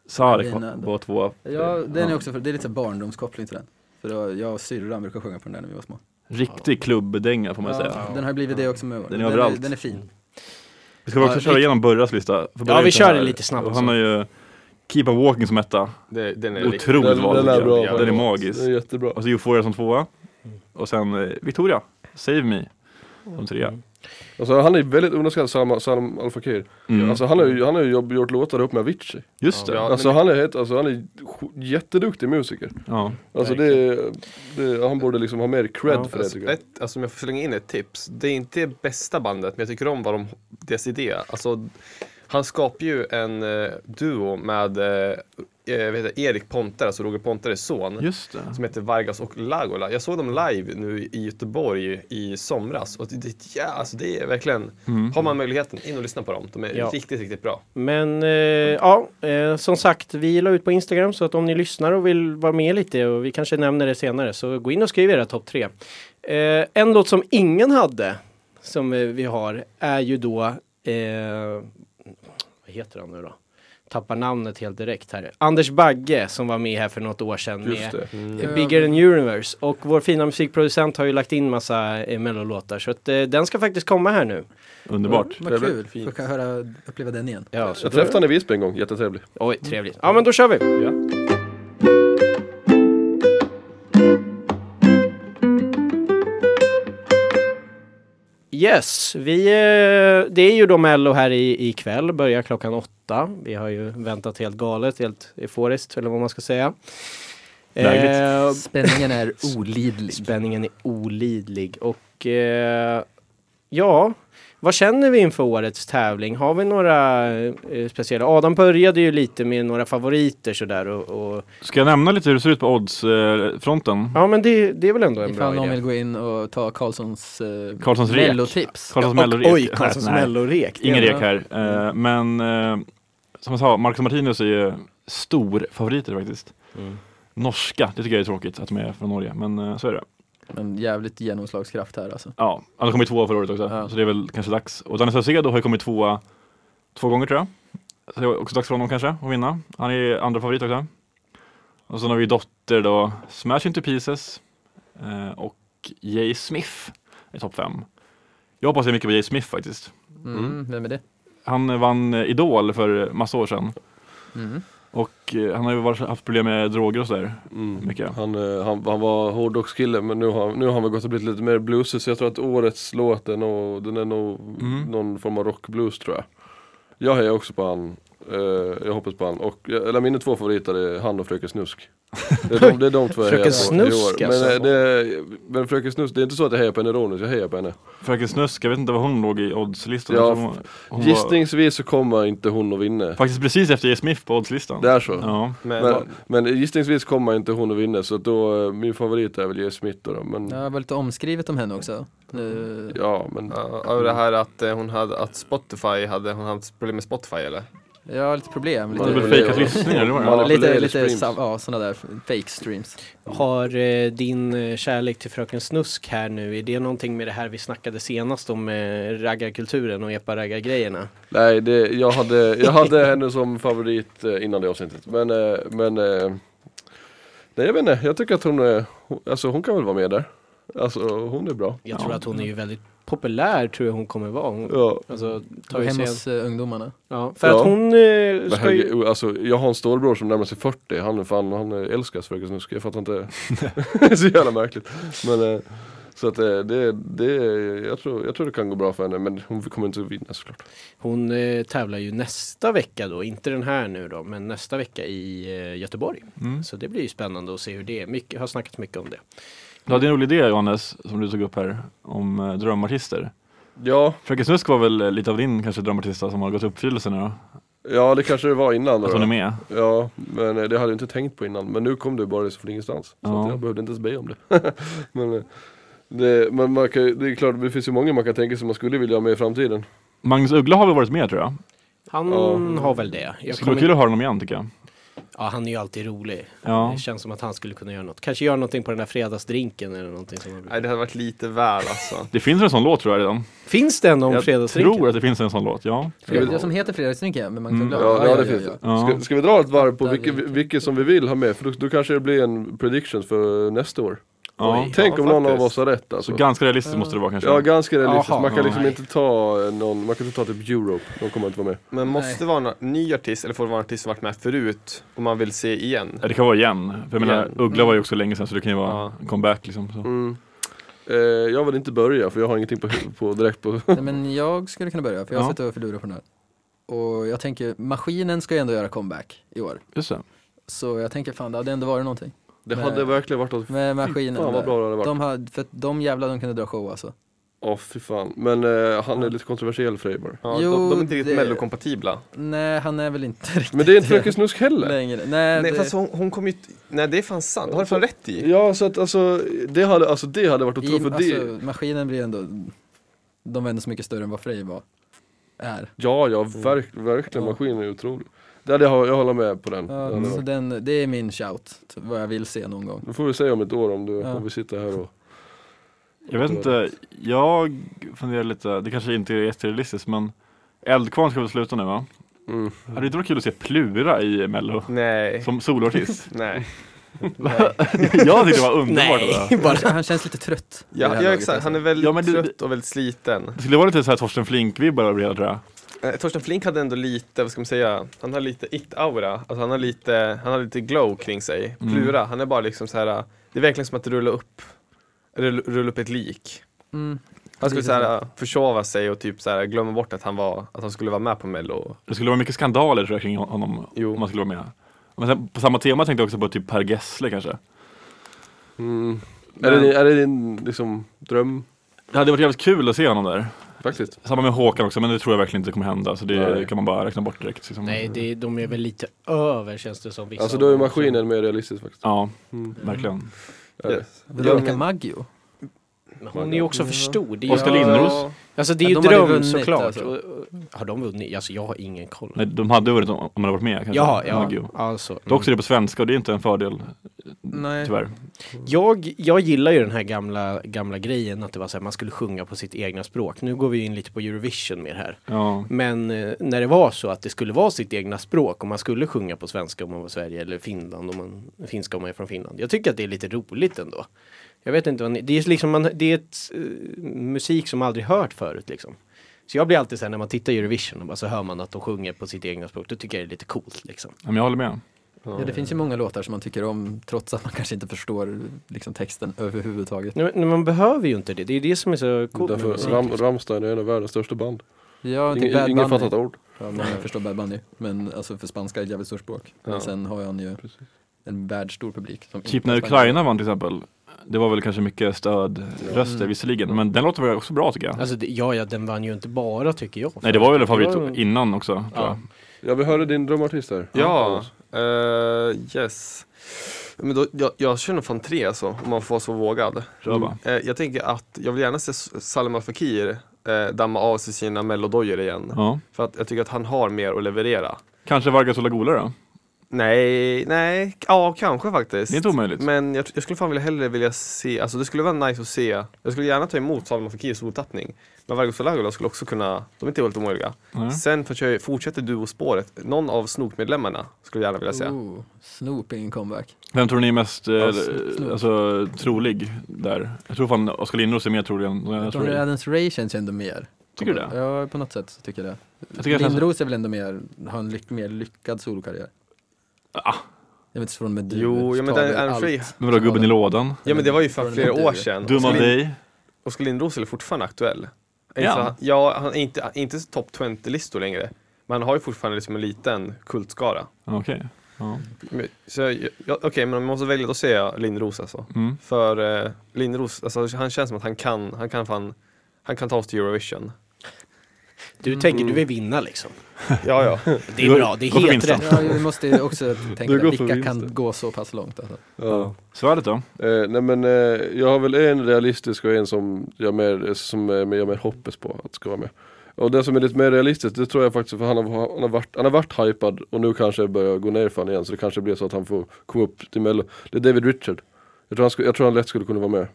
Sarek Mina- var- var tvåa. Ja, den är också, för, det är lite så här barndomskoppling till den. För då, jag och syrran brukade sjunga på den där när vi var små. Riktig klubbdänga får man ju säga. Ja, den har blivit det också med åren. Den är den, överallt. den är fin. Vi ska väl också Ja, köra vi- igenom Burras lista. För Burra Ja, är vi inte kör här. lite snabbt Han har ju Keep on walking som etta. Det- Den är riktigt Otroligt val. den är tycker bra. jag. Den är faktiskt. magisk. Den är jättebra. Och så Euphoria som tvåa. Och sen eh, Victoria, Save Me, som trea. Alltså, han är väldigt underskattad, Salman, Salman Al Fakir. Mm. Alltså, han har ju, han har ju jobb, gjort låtar ihop med Avicii. Just det. Ja, Ja. Alltså, han är, helt- alltså, han är sj- jätteduktig musiker. Alltså, det, är- det, han borde liksom ha mer cred Ja, för det Alltså, tycker jag. ett, alltså om jag får slänga in ett tips. Det är inte det bästa bandet, men jag tycker om vad de, deras idé. Alltså, han skapar ju en eh, duo med eh, eh, vad heter, det? Erik Pontare, alltså Roger Pontares son. Just det. Som heter Vargas och Lagola. Jag såg dem live nu i Göteborg i somras. Och det, det, ja, alltså det är verkligen, har man möjligheten, in och lyssna på dem. De är Ja. riktigt, riktigt bra. Men eh, ja, eh, som sagt, vi la ut på Instagram så att om ni lyssnar och vill vara med lite och vi kanske nämner det senare så gå in och skriv era topp tre. Eh, en låt som ingen hade som eh, vi har är ju då, eh, vad heter han nu då? Tappar namnet helt direkt här. Anders Bagge som var med här för något år sedan Just med det. eh, Bigger than Universe och vår fina musikproducent har ju lagt in massa eh, mellolåtar så att eh, den ska faktiskt komma här nu. Underbart. Vad kul, får jag höra, uppleva den igen. Ja, så Jag då, träffade han i Visby en gång, jättetrevlig. oj, trevligt. Ja, men då kör vi. Yes, vi, eh, det är ju då Mello här i, ikväll, börjar klockan åtta. Vi har ju väntat helt galet, helt euforiskt eller vad man ska säga. Eh, Lägligt. Spänningen är olidlig. spänningen är olidlig och eh, ja, vad känner vi inför årets tävling? Har vi några eh, speciella? Adam började ju lite med några favoriter sådär och, och Ska jag nämna lite hur det ser ut på oddsfronten? ja, men det, det är väl ändå en Ifall bra någon idé. vill gå in och ta Karlssons eh, Karlssons rek. mellotips. Karlssons Och, Mellorek. oj, Karlssons Nej, nej. mellorek. Ingen rek här. Eh, Men eh, som jag sa, Marcus Martinus är ju stor favoriter faktiskt. Norska, det tycker jag är tråkigt att de är från Norge, men eh, så är det. Men jävligt genomslagskraft här alltså. Ja, han har kommit tvåa förra året också, Ja. så det är väl kanske dags. Och Danny Saucedo har ju kommit tvåa två gånger tror jag. Så det är också dags för honom kanske att vinna. Han är andra favorit också. Och sen har vi Dotter då, Smash Into Pieces eh, och Jay Smith i topp fem. Jag hoppas mycket på Jay Smith faktiskt. Mm, Vem är det? Han vann eh, Idol för massa år sedan Mm. och eh, han har ju varit, haft problem med droger och sådär. Mycket. Han, eh, han, han var hårdrockskille men nu har, nu har han väl gått och blivit lite mer bluesig så jag tror att årets låt är nog, den är nog Mm. någon form av rockblues tror jag. Jag hejar också på han Eh, jag hoppas på han. Och, eller mina två favoriter är han och Fröken Snusk. Det är de, det är de två jag Fröken hejar på i år. Snusk, men, alltså. eh, det, men Fröken Snusk, det är inte så att jag hejar på henne ironiskt, jag hejar på henne. Fröken Snusk, jag vet inte vad hon låg i oddslistan. Ja, Jag tror hon, hon var, Gissningsvis så kommer inte hon att vinna. faktiskt precis efter J. Smith på oddslistan. Det är så. Ja. Men, Men, men gissningsvis kommer inte hon att vinna så att då, eh, min favorit är väl J. Smith då, då, men Det var lite omskrivet om henne också. Eh, Nu, ja men ja, och eh, det här att eh, hon hade, att Spotify hade, hon haft problem med Spotify eller? jag har lite problem. Hon hade väl Lite, fejkat fejkat lyssningar, det var det. Ja, ja, lite, manipulera lite streams. sam, ja, sådana där fake streams. Har eh, din eh, kärlek till Fröken Snusk här nu, är det någonting med det här vi snackade senast om eh, raggarkulturen och epa-raggargrejerna? Nej, det, jag, hade, jag hade henne som favorit eh, innan det avsnittet. Men, eh, men eh, nej, jag vet inte, jag tycker att hon, är- hon, alltså, hon kan väl vara med där. Alltså hon är bra. Jag Ja. tror att hon är ju väldigt populär, tror jag hon kommer vara. Hon, Ja. alltså, Gå tar ju hem sig hos eh, ungdomarna. ja, för Ja. att hon eh, Men ska ju... herregud, alltså, jag har en storbror som närmar sig 40, han, är fan, han eh, älskar Fröken Snusk, jag fattar inte. så jävla märkligt. Men, eh, så att eh, det, det, jag, tror, jag tror det kan gå bra för henne, men hon kommer inte att vinna såklart. Hon eh, tävlar ju nästa vecka då, inte den här nu då, men nästa vecka i eh, Göteborg. Mm. Så det blir ju spännande att se hur det är. Mycket, har snackat mycket om det. Du hade en rolig idé Johannes, som du tog upp här, om eh, drömartister. Ja, Fröken Snusk var väl eh, lite av din kanske drömartist som har gått i uppfyllelse nu då? ja det kanske det var innan. då. Att hon är med? Ja, men eh, det hade jag inte tänkt på innan. Men nu kom det bara liksom från ingenstans. Så Ja. att jag behövde inte ens be om det. men eh, det, men man kan, ju- det är klart, det finns ju många man kan tänka sig man skulle vilja ha med i framtiden. Magnus Uggla har väl varit med tror jag. Han Ja. har väl det. Jag Skulle vara kommer- kul att ha honom igen tycker jag. Ja, han är ju alltid rolig. Ja. Det känns som att han skulle kunna göra något. Kanske göra någonting på den här fredagsdrinken eller någonting. Som man brukar- Nej det hade varit lite väl alltså. Det finns en sån låt tror jag redan. Finns det en om jag tror fredagsdrinken? att det finns en sån låt, ja. vi- Jag som heter Fredagsdrinken med Magnus Mm. Uggla. Ja, ja, det finns det. Ja. Ska, ska vi dra ett varv på Där vilket, vi- vilket som vi vill ha med? För då, då kanske det blir en prediction för nästa år. ja. Oj. Tänk Ja, om någon faktiskt. av oss har rätt Så alltså. ganska realistiskt måste det vara kanske. Ja, ganska realistiskt. Jaha. man kan liksom Nej. inte ta eh, någon, man kan inte ta typ Europe, de kommer inte vara med. Men måste det vara en ny artist eller får det vara en artist som varit med förut och man vill se igen? Ja, det kan vara igen. För jag menar, Igen. Uggla Mm. var ju också länge sedan så det kan ju vara Ja. en comeback liksom. Så. Mm. Eh, jag vill inte börja för jag har ingenting på, på direkt på... Nej, men jag skulle kunna börja, för jag har Ja. suttit och förlurat på den här. Och jag tänker, maskinen ska ju ändå göra comeback i år. Just det. Så jag tänker, fan det hade ändå varit någonting. Det Nej. hade verkligen varit något Med maskinen Fan vad där. bra det hade varit. De hade, för att de jävla de kunde dra show alltså. Ja fy fan, men eh, han är lite kontroversiell Freiburg. Ja, Jo, de, de är inte riktigt det- mellokompatibla. Nej, han är väl inte riktigt Men det är inte Fröken Snusk heller. längre. Nej, Nej, det, fast hon, hon kom ju... t- Nej det är fan sant, det har du fan rätt i. Ja så att alltså, det hade, alltså, det hade varit i, otroligt, för det, alltså, maskinen blir ändå, de var ändå så mycket större än vad Frej var. Är. ja ja verk, verkligen, Mm. Ja. maskinen är otrolig. Det hade, jag jag håller med på den. Det Ja, hade Så varit. den, det är min shout, vad jag vill se någon gång. Nu får vi se om ett år om, du, Ja. om vi sitter här och... Jag vet inte, jag funderar lite, det kanske inte är jätterealistiskt men Eldkvarn ska väl sluta nu va? Mm. Hade det inte varit kul att se Plura i mello? Nej. Som soloartist? Nej. jag tyckte det var underbart. Nej, Det. bara. Han känns lite trött. i det Ja, här ja laget, exakt, alltså. han är väldigt Ja, men det- trött och väldigt sliten. det skulle vara lite så här Torsten Flink-vibbar över det hela tror jag. Eh, Torsten Flink hade ändå lite, vad ska man säga, han har lite it-aura. Alltså han har lite, han har lite glow kring sig. Mm. Plura, han är bara liksom så här. det är verkligen som att rulla upp, rulla, rulla upp ett lik. Mm. Han skulle Lite så här, försova sig och typ så här, glömma bort att han, var, att han skulle vara med på mello. Det skulle vara mycket skandaler tror jag kring honom Jo. om han skulle vara med. Men sen, på samma tema tänkte jag också på typ Per Gessle kanske. Mm. Men- Är, det, din- är det din liksom, dröm? Det hade varit jävligt kul att se honom där. Faktiskt. Samma med Håkan också men det tror jag verkligen inte kommer hända så det Nej. kan man bara räkna bort direkt. Liksom. Nej, det, de är väl lite över känns det Liksom som. vissa Alltså av då är dem. maskinen mer realistisk faktiskt. Ja, Mm. verkligen. Är det? Veronica Maggio. Men Hon är ju också för stor. Det är ju- Oskar Lindros. Alltså det är Men ju de hade dröm vunnit, såklart. alltså. Och- och- Har de vunnit? Alltså jag har ingen koll. Nej, de hade varit om om han hade varit med kanske. Jaha, Maggio. ja. Alltså, Dock så är det på svenska och det är inte en fördel Nej. tyvärr. mm. Jag, jag gillar ju den här gamla, gamla grejen att det var så här, man skulle sjunga på sitt egna språk. Nu går vi in lite på Eurovision mer här. Ja. Men eh, när det var så att det skulle vara sitt egna språk och man skulle sjunga på svenska om man var i Sverige eller Finland om man, finska om man är från Finland. Jag tycker att det är lite roligt ändå. Jag vet inte vad ni, det är liksom, man, det är ett, eh, musik som man aldrig hört förut liksom. Så jag blir alltid så här när man tittar Eurovision och bara så hör man att de sjunger på sitt egna språk, då tycker jag det är lite coolt liksom. Ja, Men jag håller med. Ja, det finns ju många låtar som man tycker om trots att man kanske inte förstår liksom, texten överhuvudtaget. Nej, Men man behöver ju inte det, det är det som är så coolt med Därför musik. Ram, Rammstein är en av världens största band. Ja, typ Ingen, Bad ingen Bunny. fattar ett ord. Många förstår Bad Bunny, men alltså för spanska är ett jävligt stort språk. Men Ja. sen har han ju en världsstor publik. Som Typ inte när är spanska. Ukraina vann till exempel, det var väl kanske mycket stödröster Mm. visserligen, men den låten var också bra tycker jag. Alltså, det, ja, ja, den vann ju inte bara tycker jag. Nej det var väl en favorit Det var- innan också tror Ja. jag. Ja vi hörde din drömartist där. Ja, eh, yes. Men då, jag, jag kör nog fan tre alltså, om man får vara så vågad. Kör bara. Eh, jag tänker att jag vill gärna se S- Salim Al Fakir eh, damma av sig sina mellodojor igen. Ja. För att jag tycker att han har mer att leverera. Kanske Vargas och Lagola då? Nej, nej, k- ja kanske faktiskt. Det är inte omöjligt. Men jag, tr- jag skulle fan vilja hellre vilja se, alltså det skulle vara nice att se, jag skulle gärna ta emot Salim Al Fakirs soltappning. Men Vargas och Lagola skulle också kunna, de är inte helt omöjliga. Nej. Sen försöker, fortsätter du och spåret, någon av Snook-medlemmarna skulle jag gärna vilja se. Oh, Snoop ingen comeback. Vem tror ni är mest eh, Alltså, alltså, trolig där? Jag tror fan Oskar Lindros är mer trolig än jag tror Tony det. Adams Ray känns ju ändå mer. Tycker du det? Ja, på något sätt så tycker jag det. Jag tycker att Lindros är väl ändå mer, har en lyck, mer lyckad solokarriär. Ah. Jag vet inte från med du. Jo, ja, men den- Tavel, Anne allt. Frey- Men vadå, gubben i lådan? Ja men det var ju för Från flera Lindros. år sedan. Dum av Oskar Lind- dig? Oskar Lindros är fortfarande aktuell. Ja. Ja. ja, han är inte, inte topp 20-listor längre. Men han har ju fortfarande liksom en liten kultskara. Okej. Ja. Men- Så jag, jag, Okej, men om jag måste välja, då ser jag Lindros alltså. Mm. För eh, Lindros, alltså, han känns som att han kan, han kan fan, han kan ta oss till Eurovision. Du tänker du vill vinna liksom. Ja, ja. Det är bra, det Gå är helt för vinsten. rätt. Ja, vi måste ju också tänka där, går för vilka kan vinsten. gå så pass långt alltså. Ja. Svärdet då? Eh, nej men eh, jag har väl en realistisk och en som jag mer, som eh, jag mer hoppas på att ska vara med. Och den som är lite mer realistisk, det tror jag faktiskt för han har, han har, varit, han har varit hypad och nu kanske börjar gå ner för han igen så det kanske blir så att han får komma upp till mello. Det är David Richard. Jag tror, han skulle, jag tror han lätt skulle kunna vara med.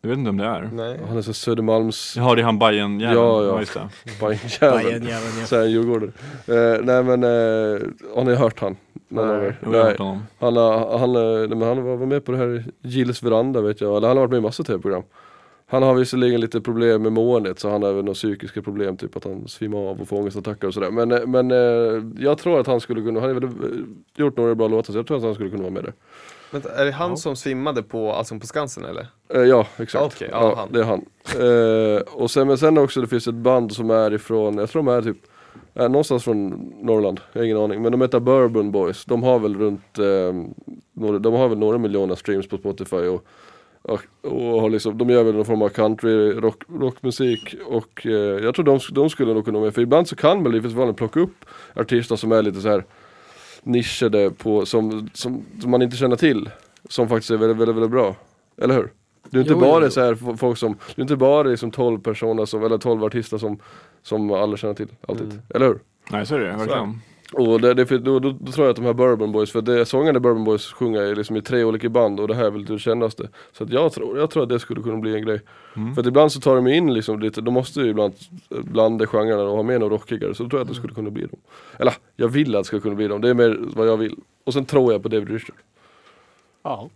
Jag vet inte om det är. Nej. Han är så Södermalms Jaha, det är han bajen Ja, ja. just det. Bajenjävel. Bajenjäveln, ja. Säger en djurgårdare. Eh, nej men, eh, har ni hört han? Någon av er? Jo, jag har Nej. hört honom. Han, har- han, eh, nej, men han var var med på det här Gilles veranda vet jag, eller han har varit med i massa tv-program. Han har visserligen lite problem med måendet så han har även några psykiska problem, typ att han svimmar av och får ångestattacker och sådär. Men, eh, men eh, jag tror att han skulle kunna, han har väl eh, gjort några bra låtar så jag tror att han skulle kunna vara med där. Vänta, är det han som svimmade på Allsång på Skansen eller? Eh, ja, exakt. Okej, ja, ja, han. Det är han. Eh, och sen, men sen också, det finns ett band som är ifrån, jag tror de är typ är någonstans från Norrland, jag har ingen aning. Men de heter Bourbon Boys. De har väl runt, eh, några, de har väl några miljoner streams på Spotify och, och, och har liksom, de gör väl någon form av country, rock, rockmusik och eh, jag tror de, de skulle nog kunna vara med. För ibland så kan Melodifestivalen plocka upp artister som är lite så här nischade på, som, som, som man inte känner till. Som faktiskt är väldigt, väldigt, väldigt bra. Eller hur? Du är inte Jo, jo, bara jo. så här f- folk som, du är inte bara liksom 12 personer som, eller 12 artister som, som alla känner till alltid. Mm. Eller hur? Nej, så är det verkligen. Och det, det, då, då, då tror jag att de här Bourbon Boys, för det sångarna i Bourbon Boys sjunger är liksom i tre olika band och det här är väl det kändaste. Så att jag, tror, jag tror att det skulle kunna bli en grej. För att ibland så tar de in liksom lite, de måste ju ibland blanda genrerna och ha med några rockigare, så då tror jag att det skulle kunna bli dem. Eller jag vill att det ska kunna bli dem, det är mer vad jag vill. Och sen tror jag på David Richard. Ja,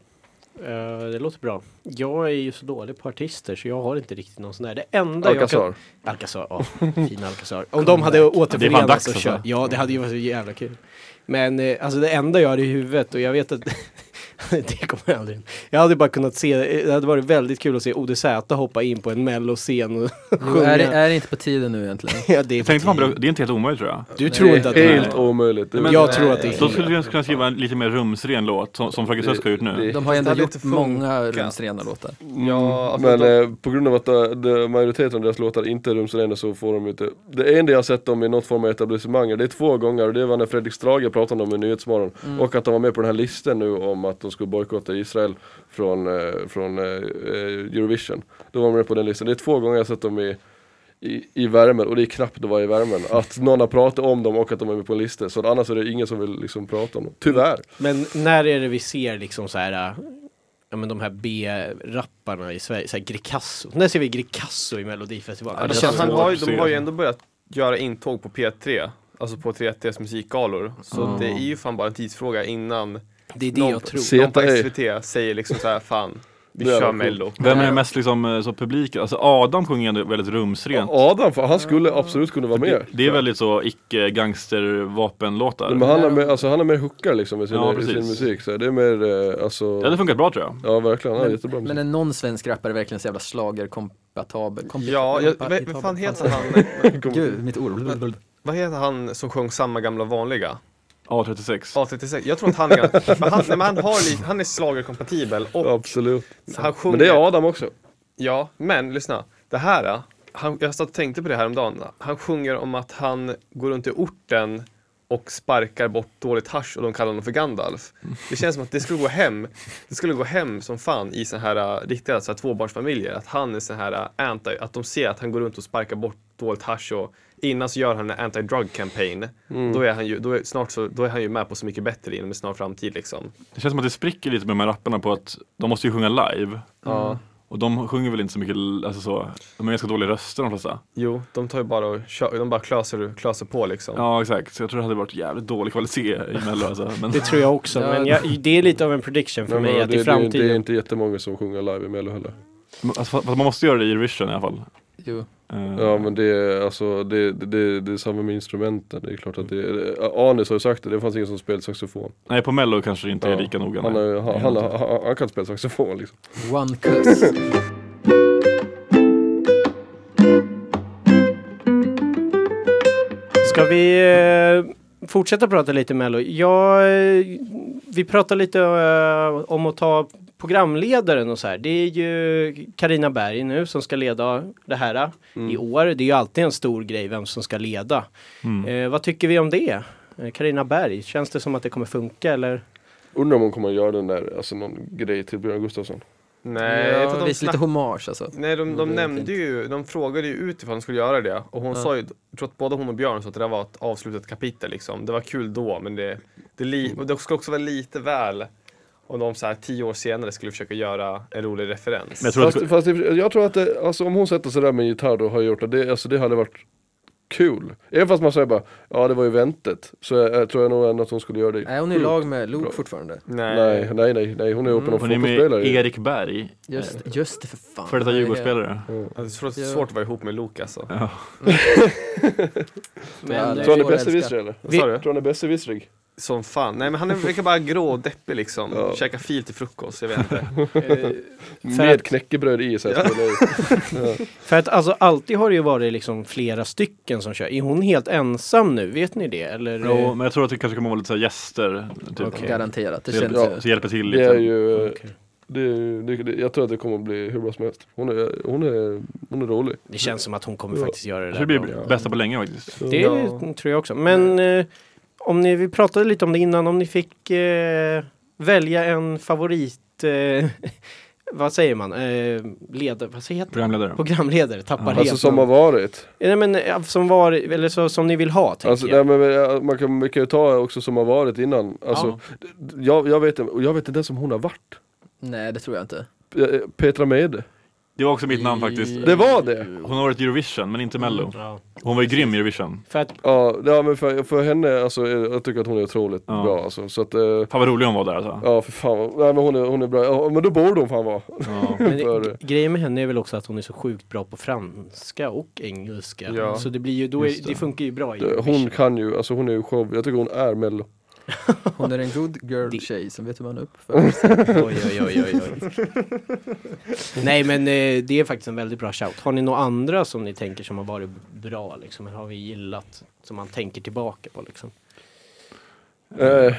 eh, det låter bra. Jag är ju så dålig på artister så jag har inte riktigt någon sån där. Det enda jag Alcazar. kan... Alcazar. ja. Fina Alcazar. Om de hade återförenats dags, och kört. alltså. Ja, det hade ju varit så jävla kul. Men eh, alltså det enda jag har i huvudet och jag vet att det kommer aldrig in. Jag hade bara kunnat se, det hade varit väldigt kul att se ODZ hoppa in på en melloscen och sjunga. Är det, är det inte på tiden nu egentligen? Ja, det är Jag tänkte man, på det är inte helt omöjligt tror jag. tiden. Du tror inte att det Helt är... omöjligt. Det- Men- Jag tror att det är Då helt... skulle vi kunna skriva en lite mer rumsren låt som, som Fröken Svensk har gjort nu. det- De har ju ändå hade gjort inte funkat. många rumsrena låtar. Ja, alltså, Men de- eh, på grund av att eh, de- majoriteten av deras låtar inte är rumsrena så får de inte Det enda jag har sett dem i något form av etablissemang det är två gånger och det var när Fredrik Strage pratade om det i Nyhetsmorgon och att de var med på den här listan nu om att de skulle bojkotta Israel från, eh, från eh, eh, Eurovision. Då var de med på den listan. Det är två gånger jag har sett dem i i, i värmen och det är knappt det var i värmen. Att någon har pratat om dem och att de är med på en lista. Så att annars är det ingen som vill liksom prata om dem. Tyvärr. Men när är det vi ser liksom så här, äh, ja men de här B-rapparna i Sverige, så här Gricasso. När ser vi Gricasso i Melodifestivalen? Ja, Ja, det det Alltså, känns känns, han svårt har ju, att de se. har ju ändå börjat göra intåg på P3, alltså på 3Ts musikgalor. Så Mm. det är ju fan bara en tidsfråga innan det är det någon, jag tror. Se- någon på CTA. SVT säger liksom så här, fan, vi Det är kör coolt. mello. Vem är mest liksom, eh, så publik? Alltså Adam sjunger ändå väldigt rumsrent. Adam, för han skulle absolut kunna vara med. Det är väldigt så icke-gangstervapenlåtar. Men han har mer, alltså, han har mer hookar liksom i sin, Ja, i sin precis. musik. Så det är mer, eh, alltså, Det hade funkat bra tror jag. ja verkligen, han har jättebra Men musik. är någon svensk rappare verkligen så jävla schlagerkompatibel? Ja, jag, vad- vad fan heter han? Gud, mitt ord. vad heter han som sjöng samma gamla vanliga? A36. A36. Jag tror att han är, ganska- men han, nej, men han, har lite, han är slagerkompatibel och Absolut. han sjunger. Men det är Adam också. Ja, men lyssna. Det här, äh, han, jag satt och tänkte på det här om dagen. Han sjunger om att han går runt i orten och sparkar bort dåligt hasch och de kallar honom för Gandalf. Det känns som att det skulle gå hem, det skulle gå hem som fan i sån här äh, riktiga så här, tvåbarnsfamiljer. Att han är sån här äh, anti, att de ser att han går runt och sparkar bort dåligt hasch och innan så gör han en anti-drug campaign. Mm. Då, är han ju, då, är snart så, då är han ju med på Så mycket bättre inom en snar framtid liksom. Det känns som att det spricker lite med de här rapparna på att de måste ju sjunga live. Ja, Och de sjunger väl inte så mycket, alltså så, de har ganska dåliga röster de flesta. jo, de tar ju bara och kör, de bara klöser, klöser på liksom. Ja exakt, så jag tror det hade varit jävligt dålig kvalitet i mello alltså. Men typ- Det tror jag också, men jag, det är lite av en prediction för Men mig vadå, att det, i framtiden... Det, det är inte jättemånga som sjunger live i Mello heller. alltså, fast man måste göra det i Eurovision i alla fall. Jo. Eh, Ja men det är alltså, det, det, det, det är samma med instrumenten. Det är klart att det är, eh, Anis har ju sagt det, det fanns ingen som spelade saxofon. Nej på mello kanske det inte är Ja. lika noga. Han, nej. har, han, han, han, han kan spela saxofon liksom. One cuss. Ska vi eh, fortsätta prata lite Mello? Jag, eh, vi pratar lite eh, om att ta programledaren och så här. Det är ju Karina Berg nu som ska leda det här eh, i år. Det är ju alltid en stor grej vem som ska leda. Mm. Eh, vad tycker vi om det? Eh, Karina Berg, känns det som att det kommer funka eller? Undrar om hon kommer att göra den där, alltså någon grej till Björn Gustafsson. Nej, för att de visst, lite snack- hommage alltså. Nej, de, de det är nämnde fint. ju, de frågade ju ut ifall de skulle göra det och hon Ja. sa ju, jag tror att både hon och Björn sa att det där var ett avslutat kapitel liksom. Det var kul då, men det, det, li- och det skulle också vara lite väl om de så här tio år senare skulle försöka göra en rolig referens. Men jag tror att det, Fast, fast det- jag tror att det, alltså, om hon sätter sig där med en gitarr och har gjort det, det, alltså, det hade varit kul. Även fast man säger bara, ja det var ju väntet, så jag, jag tror jag nog ändå att hon skulle göra det. Mm. Nej, hon är i lag med Luke fortfarande. Nej. alltså, Nej, nej, nej, nej, hon är ihop med någon Mm. hon är med fotbollsspelare. ju. Erik Berg, Just, just det, för fan. före detta Nej, Djurgårdsspelare. Alltså, det är svårt, Ja. svårt att vara ihop med Luke alltså. Ja. Ja, Men, eh, det- Tror han är Svår att besserwisser eller? Vad sa du? Tror han är Mm. besserwisserig? Som fan. Nej men han är- verkar bara grå och deppig liksom. Ja. Käka fil till frukost, jag vet inte. eh, Med knäckebröd i sig. För att alltså alltid har det ju varit liksom flera stycken som kör. Är hon helt ensam nu? Vet ni det? Eller? Jo, men jag tror att det kanske kommer vara lite så här gäster. Typ. Okej. Garanterat, det Så känns hjälper, Ja. ju. så hjälper till lite. Det är ju, eh, Okej. det, är- det, det, jag tror att det kommer att bli hur bra som helst. Hon är, hon är, hon är rolig. Det känns som att hon kommer Ja. faktiskt göra det Jag tror där. det bra. blir bästa på länge faktiskt. Det tror jag också. Men eh, om ni, vi pratade lite om det innan, om ni fick eh, välja en favorit, eh, vad säger man, eh, ledare, vad säger det? Programledare. Programledare, tappar Ja. helt. Alltså som har namn. varit. Eh, Nej men eh, som var, eller så, som ni vill ha tänker Alltså, nej, jag. men, eh, man, kan, man kan ju ta också som har varit innan. Alltså, jag, jag, vet, och jag vet inte ens om hon har varit. Nej, det tror jag inte. P- eh, Petra Mede. Det var också mitt namn faktiskt. Det var det! Hon har varit i Eurovision men inte Mello. Ja. Hon var ju grym i Eurovision. För att, Ja, ja men för, för henne, alltså, eh, jag tycker att hon är otroligt Ja. bra alltså. Så att, eh, Fan vad rolig hon var där alltså. ja för fan. vad- Nej, men hon, är, hon är bra. Ja, men då borde hon fan vara. Ja. men För- det- grejen med henne är väl också att hon är så sjukt bra på franska och engelska. Ja. Så det blir ju, då är, Just det. det. funkar ju bra i Hon kan ju, alltså hon är ju show, jag tycker hon är mello. Hon är en good Det- girl-tjej som vet hur man uppför sig. Oj, oj, oj, oj, oj. Nej, men eh, det är faktiskt en väldigt bra shout. Har ni några andra som ni tänker som har varit bra liksom? Eller har vi gillat? Som man tänker tillbaka på liksom? Eh,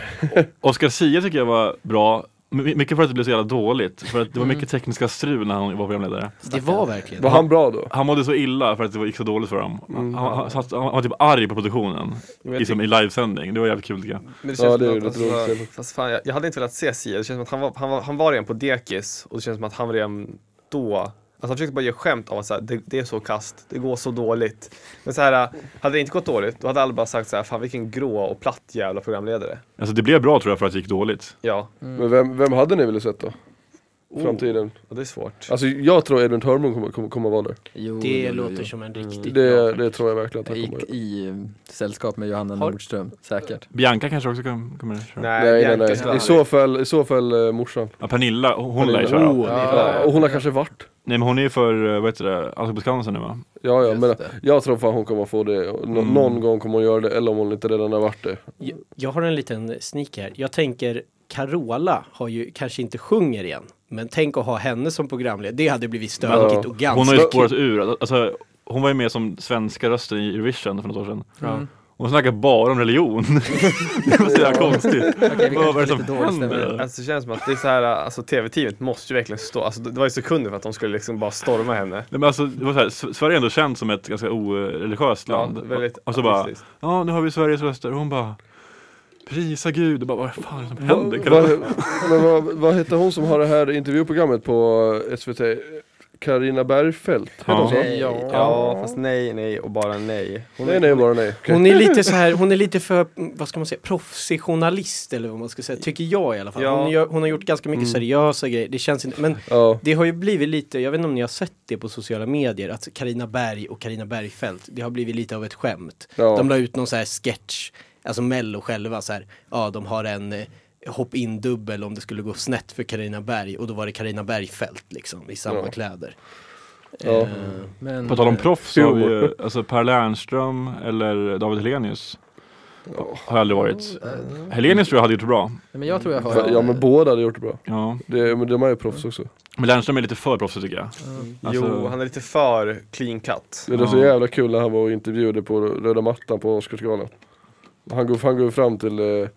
Oscar Sia tycker jag var bra. My- Mycket för att det blev så jävla dåligt. För att det var Mm. mycket tekniska strul när han var programledare. Det var verkligen. var han bra då? Han mådde så illa för att det gick så dåligt för honom. Mm. Han, han, han, satt- han var typ arg på produktionen. I, som, i livesändning. Det var jävligt kul tycker jag. Men det känns Ja, det som är att, ju lite alltså, roligt. fast fan, jag, jag hade inte velat se Sia, det känns som att han var, han var, han var redan på dekis och det känns som att han redan då, alltså han försökte bara göra skämt av att så här, det, det är så kast, det går så dåligt. Men så här, hade det inte gått dåligt, då hade alla bara sagt så här, fan vilken grå och platt jävla programledare. Alltså det blev bra tror jag för att det gick dåligt. Ja, Men vem, vem hade ni velat sett då? Oh. Framtiden? och det är svårt. Alltså jag tror Edvin Törnblom kommer, kommer, kommer vara där. Jo, Det jo, jo, låter jo. som en riktigt Det, bra det tror jag verkligen att Jag han kommer gick göra. i eh, sällskap med Johanna Har- Nordström, säkert. Bianca kanske också kan, kommer att köra. Nej nej Bianca nej, skulle i aldrig- så fall, i så fall eh, morsan. Ja, Pernilla, hon hon lär ju Pernilla. köra. Oh, Ja, och hon har kanske varit. Nej men hon är ju för, eh, vad heter det, Allsång på Skansen nu va? Ja ja Just men det. jag tror fan hon kommer få det. Nå- Mm. Någon gång kommer hon göra det, eller om hon inte redan har varit det. Jag, jag har en liten sneak här. Jag tänker Carola har ju kanske inte sjunger igen. Men tänk att ha henne som programledare. Det hade blivit stökigt och ganska Hon har ju kul. spårat ur, alltså hon var ju med som svenska rösten i Eurovision för något år sedan. Ja. Hon snackar bara om religion. det var så jävla konstigt. Okej, vi Vad var kanske är det som lite dålig stämning. hände? Alltså det känns som att det är så här, alltså tv-teamet måste ju verkligen stå, alltså det det var ju sekunder för att de skulle liksom bara storma henne. Nej, men alltså, det var så här, S- Sverige är ändå känt som ett ganska oreligiöst land. och så bara, ateistiskt. ja nu har vi Sveriges röster. Och hon bara, prisa gud. Och bara, vad fan är det som händer? Kan Vad- det- Men vad, vad heter hon som har det här intervjuprogrammet på eh, SVT? Karina Bergfeldt? Heter hon så? Ja. Nej, ja. fast nej, nej och bara nej. Hon Nej, nej, bara nej. Hon är lite så här, hon är lite för, mm, vad ska man säga, proffsig journalist eller vad man ska säga, tycker jag i alla fall. Ja. Hon, gör, hon har gjort ganska Mm. mycket seriösa grejer, det känns inte, men Ja. det har ju blivit lite, jag vet inte om ni har sett det på sociala medier, att Karina Berg och Karina Bergfeldt, det har blivit lite av ett skämt. Ja. De la ut någon så här sketch, alltså Mello själva så här, ja de har en eh, hopp in dubbel om det skulle gå snett för Karina Berg och då var det Karina Bergfeldt liksom i samma Ja. kläder. Ja. Eh, Men, På tal om eh, proffs så har vi ju Humor. alltså Per Lernström eller David Helenius. Har aldrig varit. Helenius tror jag hade gjort det bra. Men jag tror jag har... Ja men båda hade gjort det bra. Ja. Det, men de är ju proffs också. Men Lernström är lite för proffsig tycker jag. Alltså- Mm. Jo, han är lite för clean cut. Det är så Ja. jävla kul när han var och intervjuade på röda mattan på Oscarsgalan. Han går, han går fram till, eh,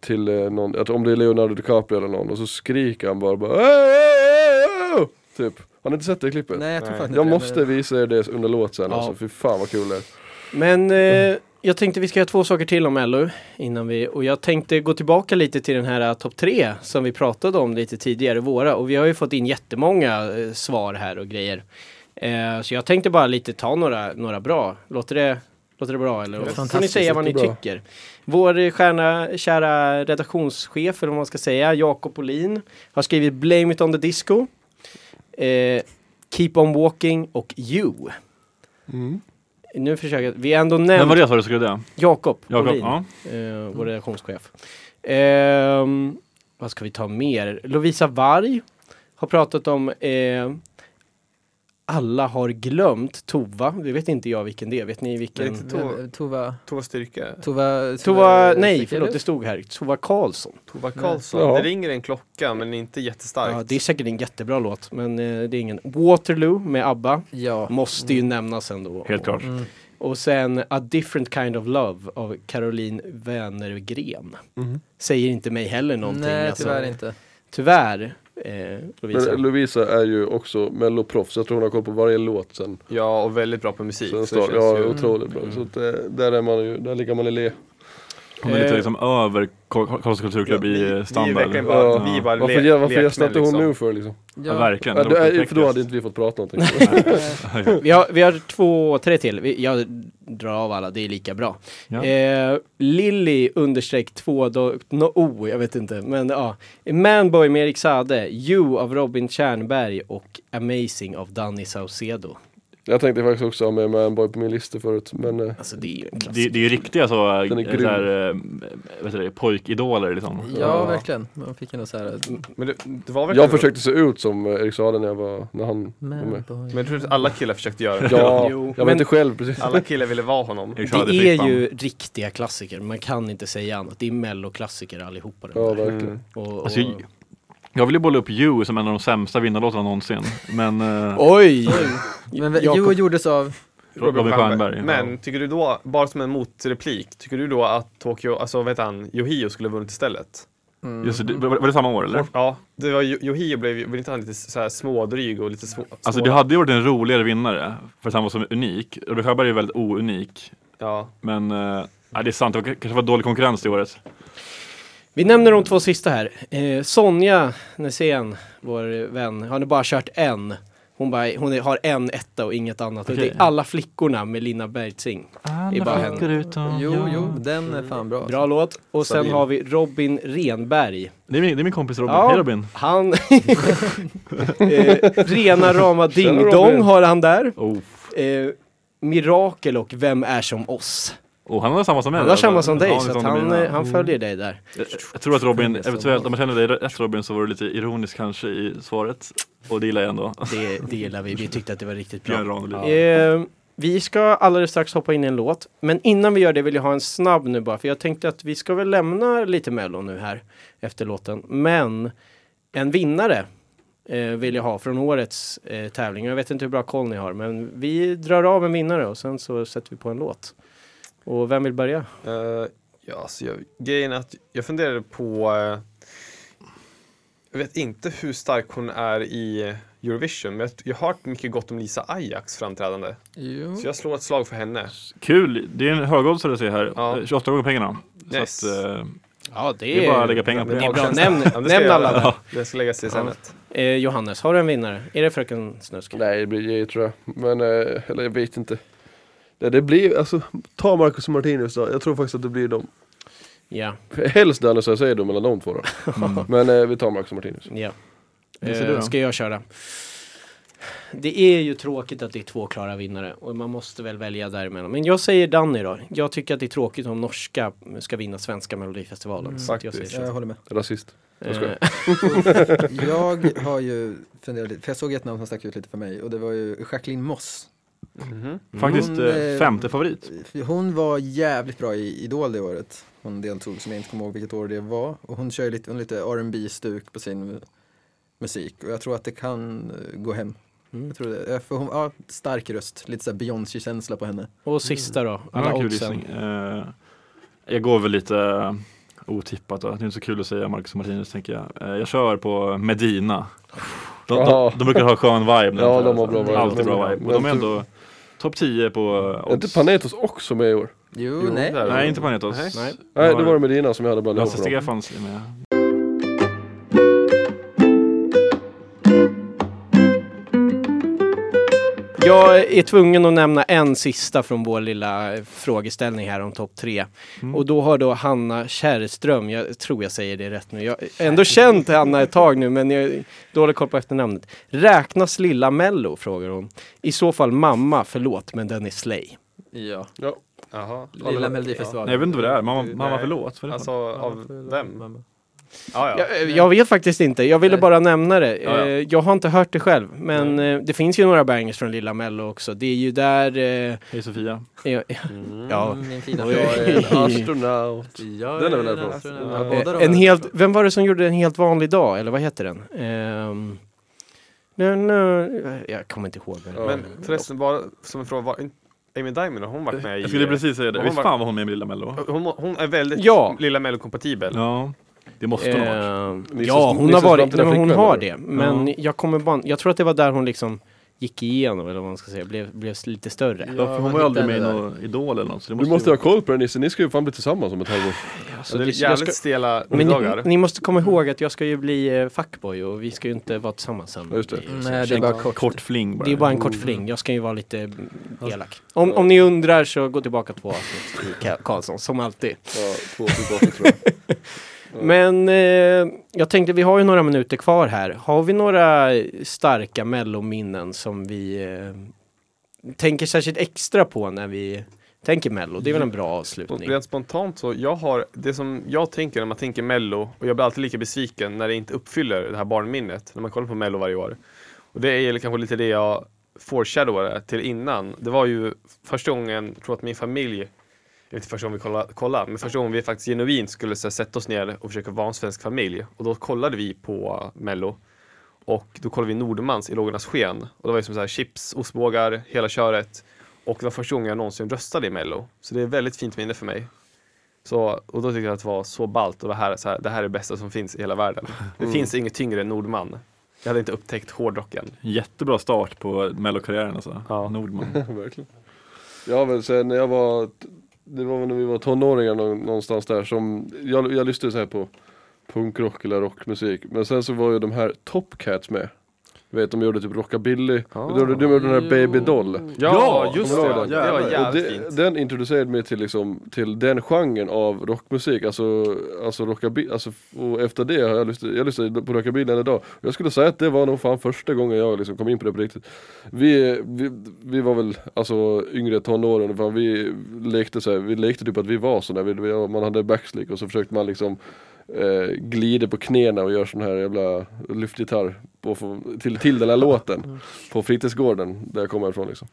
till eh, någon, att om det är Leonardo DiCaprio eller någon och så skriker han bara, bara "Åh, åh, åh, åh!" Typ. Har ni inte sett det klippet? Nej jag tror Nej. faktiskt Jag inte det, måste visa er det under låt sen Ja. alltså, fy fan vad kul det är. Men eh, jag tänkte vi ska göra två saker till om LO innan vi, och jag tänkte gå tillbaka lite till den här eh, topp tre som vi pratade om lite tidigare i våra och vi har ju fått in jättemånga eh, svar här och grejer. Eh, så jag tänkte bara lite ta några, några bra. Låter det, låter det bra eller? Låter Får ni fantastiskt, säga vad ni låter bra. tycker? Vår eh, stjärna, kära redaktionschef eller vad man ska säga, Jakob Olin har skrivit Blame It On The Disco, eh, Keep On Walking och You. Nu försöker jag, vi har ändå Vem var nämnt det sa du skulle det? Jakob Jakob? Olin, Ja. eh, vår redaktionschef. Ehm, vad ska vi ta mer? Lovisa Varg har pratat om eh, Alla har glömt Tova. Det vet inte jag vilken det är. Vet ni vilken? Vet- men- eh, Tova... Tova Styrka, Tova... Eh, Tova, nej förlåt det stod här. Tova Karlsson. Tova Karlsson. Ja. Det ringer en klocka men inte jättestarkt. Ja, det är säkert en jättebra låt men eh, det är ingen. Waterloo med ABBA. Ja. Måste ju nämnas ändå. Helt klart. Mm. Och sen A different kind of love av Caroline Wennergren. Mm-hmm. Säger inte mig heller någonting. Nej alltså. tyvärr inte. Tyvärr, eh, Lovisa. Men Lovisa är ju också melloproffs, jag tror hon har koll på varje låt sen. Ja, och väldigt bra på musik. sen så det start, känns ja, ju- Mm. otroligt bra. Så att, eh, där är man ju, där ligger man i le. Hon är lite Eh. liksom över Karl- Karlstads kulturklubb vi- i Vi är standard. verkligen bara, Ja. vi är bara Varför, le- ge- varför lekmän, gästar inte hon liksom. nu för liksom? Ja, verkligen. Ja, Det var det är, för då hade knäcktes. inte vi fått prata någonting. Vi, har, vi har två, tre till. Vi, jag drar av alla, det är lika bra. Ja. Eh, Lilly understreck 2 no, oh, jag vet inte. Men ja. Manboy med Erik Sade, You av Robin Tjernberg och Amazing av Danny Saucedo. Jag tänkte faktiskt också ha med Manboy på min lista förut, men eh, Alltså det är ju en Det, klassiker. det är ju riktiga så, äh, Den är grym. så här, äh, vet du det, pojkidoler liksom. Ja verkligen. Man fick ändå så här... Mm. Men det, det var verkligen jag försökte se ut som eh, Erik Saade när jag var, när han var med. Manboy. Men jag tror att alla killar försökte göra det. Ja, Jo, jag men- var inte själv precis. Alla killar ville vara honom. Erik Det Saade, är Frippan. ju riktiga klassiker, man kan inte säga annat. Det är melloklassiker allihopa. de Ja, där. verkligen. Mm. Och, och... Alltså, jag- jag vill ju bolla upp You som en av de sämsta vinnarlåtarna någonsin. Men eh, Oj! Men Jakob- Jo gjordes av... Robin Stjernberg. ja. Men tycker du då, bara som en motreplik, tycker du då att Tokyo, alltså vad heter han, Yohio skulle ha vunnit istället? Mm. Just det, det, var var det samma år eller? Ja, det var, Yo- Yohio blev ju- blev inte han lite så här smådryg och lite små... Alltså små- det hade ju varit en roligare vinnare för att han var så unik. Robin Stjernberg är ju väldigt ounik. Ja, Men äh, det är sant, det var, kanske var dålig konkurrens det året. Vi nämner de två sista här. Eh, Sonja Nässén, vår vän, har nu bara kört en. Hon, bara, hon är- har en etta och inget annat. Och Okej. det är Alla flickor med Lina Bergtzing. Det är bara henne. utom Jo, jo, den är fan bra. Bra låt. Och sen Stabil. har vi Robin Renberg. Det är min, det är min kompis Robin. Ja. Hej Robin! Han... eh, rena rama Ding Tjena, Dong Robin. har han där. Oh. Eh, Mirakel och Vem är som oss? Och oh, han har samma som mig. Han har samma Alltså, som dig, ja, så som att han, mina. eh, han följer dig där. Jag, jag tror att Robin, eventuellt om jag känner dig rätt Robin så var du lite ironisk kanske i svaret. Och det gillar jag ändå. Det, det gillar vi. Vi tyckte att det var riktigt bra. Björn Ranelid. Eh, vi ska alldeles strax hoppa in i en låt. Men innan vi gör det vill jag ha en snabb nu bara. För jag tänkte att vi ska väl lämna lite Mello nu här efter låten. Men en vinnare eh, vill jag ha från årets eh, tävling. Jag vet inte hur bra koll ni har. Men vi drar av en vinnare och sen så sätter vi på en låt. Och vem vill börja? Eh, ja, alltså jag, grejen är att jag funderade på... eh, jag vet inte hur stark hon är i Eurovision, men jag, jag har hört mycket gott om Lisa Ajax framträdande. Jo. Så jag slår ett slag för henne. Kul, det är en högoddsare att se här. Ja. Eh, 28 gånger pengarna. Så Yes. att, eh, Ja, det är bara att lägga pengar på Det är det. bra. Nämn, Ja, men det ska nämn jag alla göra. där. Det ska läggas till senet. Eh, Johannes, har du en vinnare? Är det Fröken Snusk? Nej, det blir J tror jag. Men, eh, eller jag vet inte. Nej, det blir, alltså, ta Marcus och Martinus då. Jag tror faktiskt att det blir dem. Ja. Helst Danne så jag säger då mellan de två då. Mm. Men eh, vi tar Marcus och Martinus. ja. Vad säger du Eh, då? ska jag köra? Det är ju tråkigt att det är två klara vinnare och man måste väl välja däremellan. Men jag säger Danny då. Jag tycker att det är tråkigt om norska ska vinna svenska melodifestivalen. så att jag säger faktiskt. så. Jag håller med. Rasist. Jag skojar. Eh, Jag har ju funderat lite, för jag såg ett namn som stack ut lite för mig och det var ju Jacqueline Moss. mm. Faktiskt Hon, eh, eh, femte favorit. Hon var jävligt bra i Idol det året. Hon deltog, som jag inte kommer ihåg vilket år det var. Och hon kör ju lite, hon har lite rb stuk på sin musik. Och jag tror att det kan eh, gå hem. Jag tror det. Ja, För hon, ja, stark röst, lite såhär Beyoncé-känsla på henne. och sista då, alla Annan kul oddsen. gissning. Eh, jag går väl lite eh, otippat då. Det är inte så kul att säga Marcus och Martinus tänker jag. Eh, jag kör på Medina. De, Ja. de, de brukar ha skön vibe. när Ja, de de tävlar. har bra vibe. Alltid bra Men- vibe. Och de är men- ändå topp 10 på eh, Är inte odds. Panetos också med i år? Jo, Jo, nej. det är- Nej, inte Panetos. Nej. Nej. Nej, det var det med dina som jag hade blandat Lasse ihop med dem. Stefans är med. Jag är tvungen att nämna en sista från vår lilla eh, frågeställning här om topp tre. Och då har då Hanna Kärrström, jag tror jag säger det rätt nu, jag har ändå känt Hanna ett tag nu men jag har dålig koll på efternamnet. Räknas lilla Mello? frågar hon. I så fall mamma, förlåt men den är slay. Ja. Ja. Jaha. Lilla Melodifestivalen. Nej, jag vet inte vad det är. Mamma, Nej. mamma förlåt. Vad är det för- Alltså, av vem? Ja, ja. Jag, jag vet faktiskt inte, jag ville Nej. bara nämna det. Ja, ja. Eh, Jag har inte hört det själv, men eh, det finns ju några bangers från lilla Mello också. Det är ju där... eh, Hej Sofia. eh, Ja, Min fina Oj. Jag fråga. är en astronaut. Jag Den är väl en därifrån? astronaut. Ja. Ja, båda Eh, de är en helt, därifrån. vem var det som gjorde en helt vanlig dag, eller vad heter den? Ehm, nu, nu, jag kommer inte ihåg. vad den Ja. Men förresten, bara som en fråga, var inte Amy Diamond, har hon varit med i... Jag skulle precis säga det. Hon Visst var- fan var hon med i Lilla Mello? Hon, hon är väldigt Ja. lilla mellokompatibel. Ja, det måste hon ha varit. Ehm, Nissas- ja, hon har Nissas varit, framtida nej, men hon flickvän, har eller? det. Men jag kommer bara, jag tror att det var där hon liksom gick igenom, eller vad man ska säga, blev, blev lite större. Ja, för hon man var ju aldrig hittar med i henne någon Idol eller något. Så det Du måste måste ju ha koll på den Nisse, ni ska ju fan bli tillsammans om ett halvår. Så det är jag ska- jävligt stela Men middagar. ni, ni måste komma ihåg att jag ska ju bli eh, fuckboy och vi ska ju inte vara tillsammans sen. Ja, just det. Nej, det är bara kort. kort fling bara. Det är bara en kort fling, jag ska ju vara lite mm, elak. Om, om ni undrar så gå tillbaka två avsnitt i Ka- Karlsson, som alltid. Ja, två tillbaka tror jag. Men eh, jag tänkte, vi har ju några minuter kvar här. Har vi några starka mellominnen som vi eh, tänker särskilt extra på när vi tänker mello? Det är väl en bra Och avslutning? Rent spontant så, jag har, det som jag tänker när man tänker mello, och jag blir alltid lika besviken när det inte uppfyller det här barnminnet, när man kollar på mello varje år. Och det är kanske lite det jag foreshadowade till innan. Det var ju första gången, jag tror att min familj, jag vet inte första gången vi kollade, kollade men första gången vi faktiskt genuint skulle så här, sätta oss ner och försöka vara en svensk familj. Och då kollade vi på mello. Och då kollade vi Nordmans I lågornas sken. Och det var ju som så här chips, ostbågar, hela köret. Och det var första gången jag någonsin röstade i Mello. Så det är ett väldigt fint minne för mig. Så, och då tyckte jag att det var så ballt och det här, så här, det här är det bästa som finns i hela världen. Det finns inget tyngre än Nordman. Jag hade inte upptäckt hårdrocken. Jättebra start på mellokarriären alltså. Ja. Nordman. Verkligen. Ja men sen när jag var, det var väl när vi var tonåringar nå- någonstans där som, jag, jag lyssnade så här på punkrock eller rockmusik. Men sen så var ju de här Top Cats med. Du vet de gjorde typ rockabilly, Ah, de gjorde, de gjorde den här Baby Doll. Ja, just Kommer du det. ihåg den? Det var Jävlar. Och jävligt det, fint. den introducerade mig till, liksom, till den genren av rockmusik, alltså, alltså rockabilly, alltså, och efter det har jag lyssnat, jag lyssnade på rockabilly än idag. Jag skulle säga att det var nog fan första gången jag liksom kom in på det på riktigt. Vi, vi, vi var väl alltså yngre tonåren, fan, vi lekte så här, vi lekte typ att vi var så där, vi, vi- man hade backslick och så försökte man liksom eh, glider på knäna och gör sån här jävla luftgitarr på, få- till, till den här låten på fritidsgården där jag kommer ifrån liksom.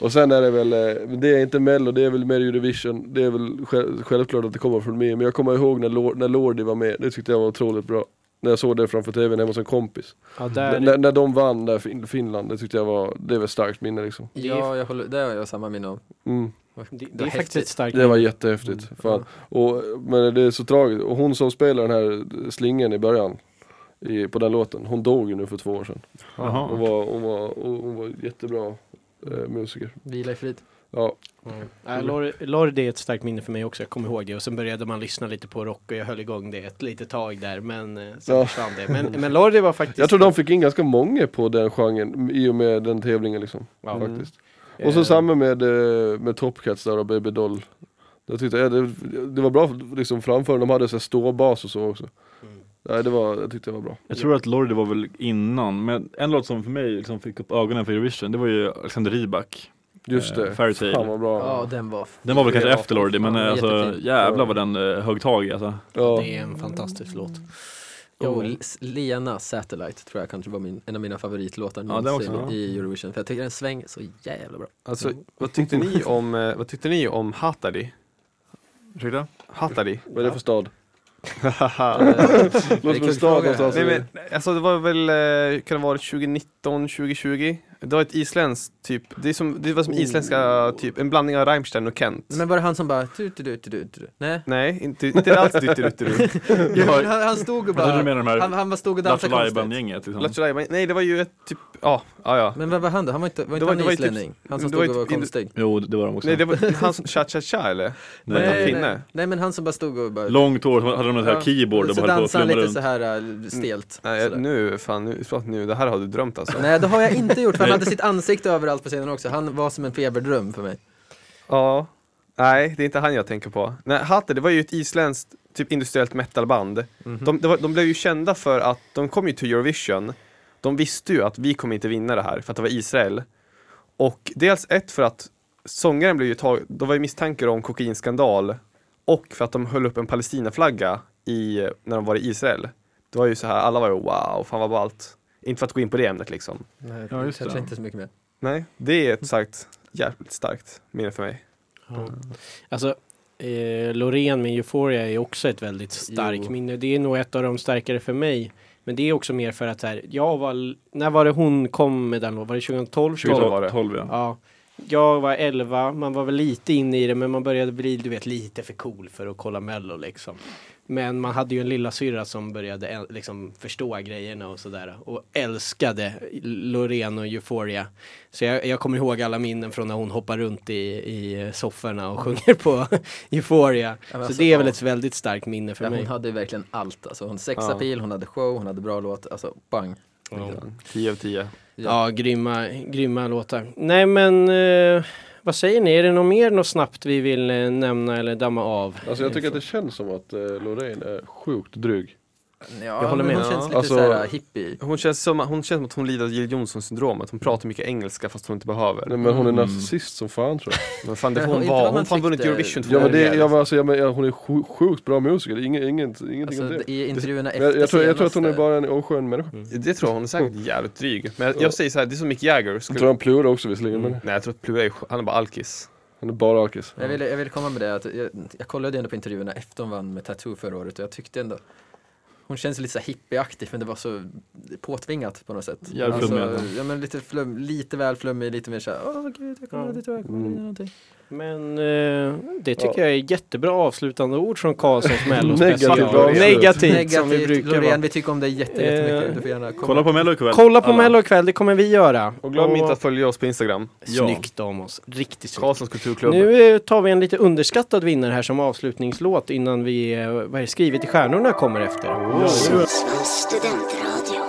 Och sen är det väl, eh, det är inte Mello, det är väl mer Eurovision. Det är väl själv, självklart att det kommer från mig, men jag kommer ihåg när, Lord, när Lordi var med, det tyckte jag var otroligt bra. När jag såg det framför tvn hemma hos en kompis. Ja, N- där, när, när de vann där fin- Finland, det tyckte jag var, det var ett starkt minne liksom. Ja, jag håller, det har jag samma minne av. Mm. Det, det var är faktiskt häftigt. ett starkt Det var jättehäftigt. Mm. Fan. Och, men det är så tragiskt. Och hon som spelar den här slingen i början i, på den låten, hon dog ju nu för två år sedan. Hon Jaha. var, hon var, hon hon var jättebra eh, musiker. Vila i frid. Ja, Ja, Lorry Lorry, det är ett starkt minne för mig också, jag kommer ihåg det. Och sen började man lyssna lite på rock och jag höll igång det ett litet tag där, men eh, sen Ja. försvann det. Men, men Lorry var faktiskt... jag tror de fick in ganska många på den genren i och med den tävlingen liksom. Ja. Mm. Faktiskt. Och så Eh, samma med, eh, med Top Cats där och Baby Doll. Jag tyckte, eh, det, det var bra liksom framför, de hade så här ståbas och så också. Nej, det var, jag tyckte det var bra. Jag tror att Lordi var väl innan, men en låt som för mig liksom fick upp ögonen för Eurovision, det var ju Alexander Rybak, Just Eh, det, Fairytale. fan vad bra. Ja, den var... f- Den var väl kanske Ja, efter Lordi, men fan, eh, alltså, jättefin. jävlar vad den eh, högg tag i alltså. Ja. Det är en fantastisk låt. Jo, Och- S- Lena Satellite tror jag kanske var min, en av mina favoritlåtar Ja, den också, någonsin ja. i Eurovision. För jag tycker den svänger så jävla bra. Alltså, vad tyckte ni om, eh, vad tyckte ni om Hatari? Ursäkta? Hatari? Vad är det för stad? eh, Låter som kul en stad fråga. någonstans. Nej men, alltså det var väl, eh, kan det vara 2019, 2020? Det var ett isländskt typ, det, är som, det var som isländska typ, en blandning av Rammstein och Kent. Men var det han som bara... Tu, tu, tu, tu, tu, tu. Nej. Nej, inte, inte alls Dytterutterut. Jo, men han, han stod och Vad trodde bara... du med de Han, här han bara stod och dansade Lattjo konstigt. gänget liksom? Lattjo Lajban, nej det var ju ett typ, ja, ja ja. Men vem var han då? Han var inte, var inte var- det han var ju typ- islänning? han som det var stod och ju var typ- konstig? Jo, det var de också. Nej det var han som cha-cha-cha eller? Nej. han nej, finne? nej. nej, men han som bara stod och bara... Långt hår, så hade de ett här Ja. keyboard och så bara höll på att dansade han flumma lite runt. Mm. så här äh, stelt. Nej jag- Sådär. nu, fan nu, förlåt, nu, det här har du drömt alltså. Nej, det har jag inte gjort. För han hade sitt ansikte överallt på scenen också. Han var som en feberdröm för mig. Ja. Nej, det är inte han jag tänker på. Nej, Hatter, det var ju ett isländskt typ industriellt metalband. De, det var, de blev ju kända för att de kom ju till Eurovision. De visste ju att vi kommer inte vinna det här för att det var Israel. Och dels ett för att sångaren blev ju tag, det var ju misstankar om kokainskandal och för att de höll upp en Palestinaflagga i, när de var i Israel. Det var ju så här, alla var ju wow, fan vad ballt. Inte för att gå in på det ämnet liksom. Nej, Ja, just det. kanske inte så mycket mer. Nej, det är ett starkt, jävligt starkt minne för mig. Ja. Alltså, eh, Loreen med Euphoria är också ett väldigt starkt Jo. minne. Det är nog ett av de starkare för mig. Men det är också mer för att så här, jag var, när var det hon kom med den låten? Var det 2012? 2012 var det. 12, ja. Ja. Jag var 11, man var väl lite inne i det men man började bli du vet lite för cool för att kolla mello liksom. Men man hade ju en lilla syrra som började eh, liksom förstå grejerna och sådär och älskade Loreen och Euphoria. Så jag, jag kommer ihåg alla minnen från när hon hoppar runt i, i sofforna och sjunger på Euphoria. men Så alltså, det är väl ja. ett väldigt starkt minne för Ja, mig. hon hade ju verkligen allt. Alltså, hon sexapil, hon hade show, hon hade bra låt. Alltså, bang. Ja. 10 av 10. Ja, grymma, grymma låtar. Nej men, eh, vad säger ni? Är det något mer något snabbt vi vill eh, nämna eller damma av? Alltså jag tycker att det känns som att eh, Loreen är sjukt dryg. Ja, håller med. men Hon Ja. känns lite Alltså- såhär hippie. Hon känns, som, hon känns som att hon lider av Jill Johnson-syndromet. Hon pratar mycket engelska fast hon inte behöver. Nej, men hon är Mm. nazist som fan tror jag. Men fan, det Men får hon inte vad var. man Hon fan vunnit tyckte. Eurovision två Ja, men det, gånger. ja, men alltså, ja, men, ja, hon är sju- sjukt bra musiker, det är inget, inget, ingenting Alltså, om det. I intervjuerna efter Jag, jag, tror, jag tror att hon är senaste- bara en oskön människa. Mm. det tror jag hon är säkert jävligt dryg. Men jag, jag säger så här, det är som Mick Jagger. Jag Skulle... tror han plurar också visserligen, men Nej jag tror att Plura är, han är bara alkis. han är bara alkis. Jag ville, jag ville komma med det att jag, jag kollade ju ändå på intervjuerna efter hon vann med Tattoo förra året och jag tyckte ändå hon känns lite så här hippieaktig men det var så påtvingat på något sätt. Alltså, Jävligt flummigt. ja, men lite, flum, lite väl flummig, lite mer såhär, åh gud, jag kommer dit och jag kommer dit någonting. Men eh, det tycker jag är jättebra avslutande ord från Karlssons mellospecial. Negativt avslut. Negativt, som vi Negativt, brukar Loreen, vara. vi tycker om dig jätte, jättemycket. Eh, Du får gärna komma. Kolla på Mello ikväll. Kolla på alla. mello ikväll, det kommer vi göra. Och glöm inte att följa oss på Instagram. Ja. Snyggt om oss, riktigt snyggt. Karlssons kulturklubb. Nu eh, tar vi en lite underskattad vinnare här som avslutningslåt innan vi, eh, vad är det, skrivet i stjärnorna kommer efter. Sundsvalls studentradio.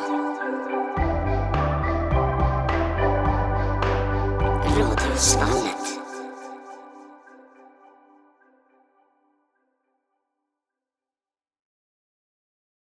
Radhusvallen.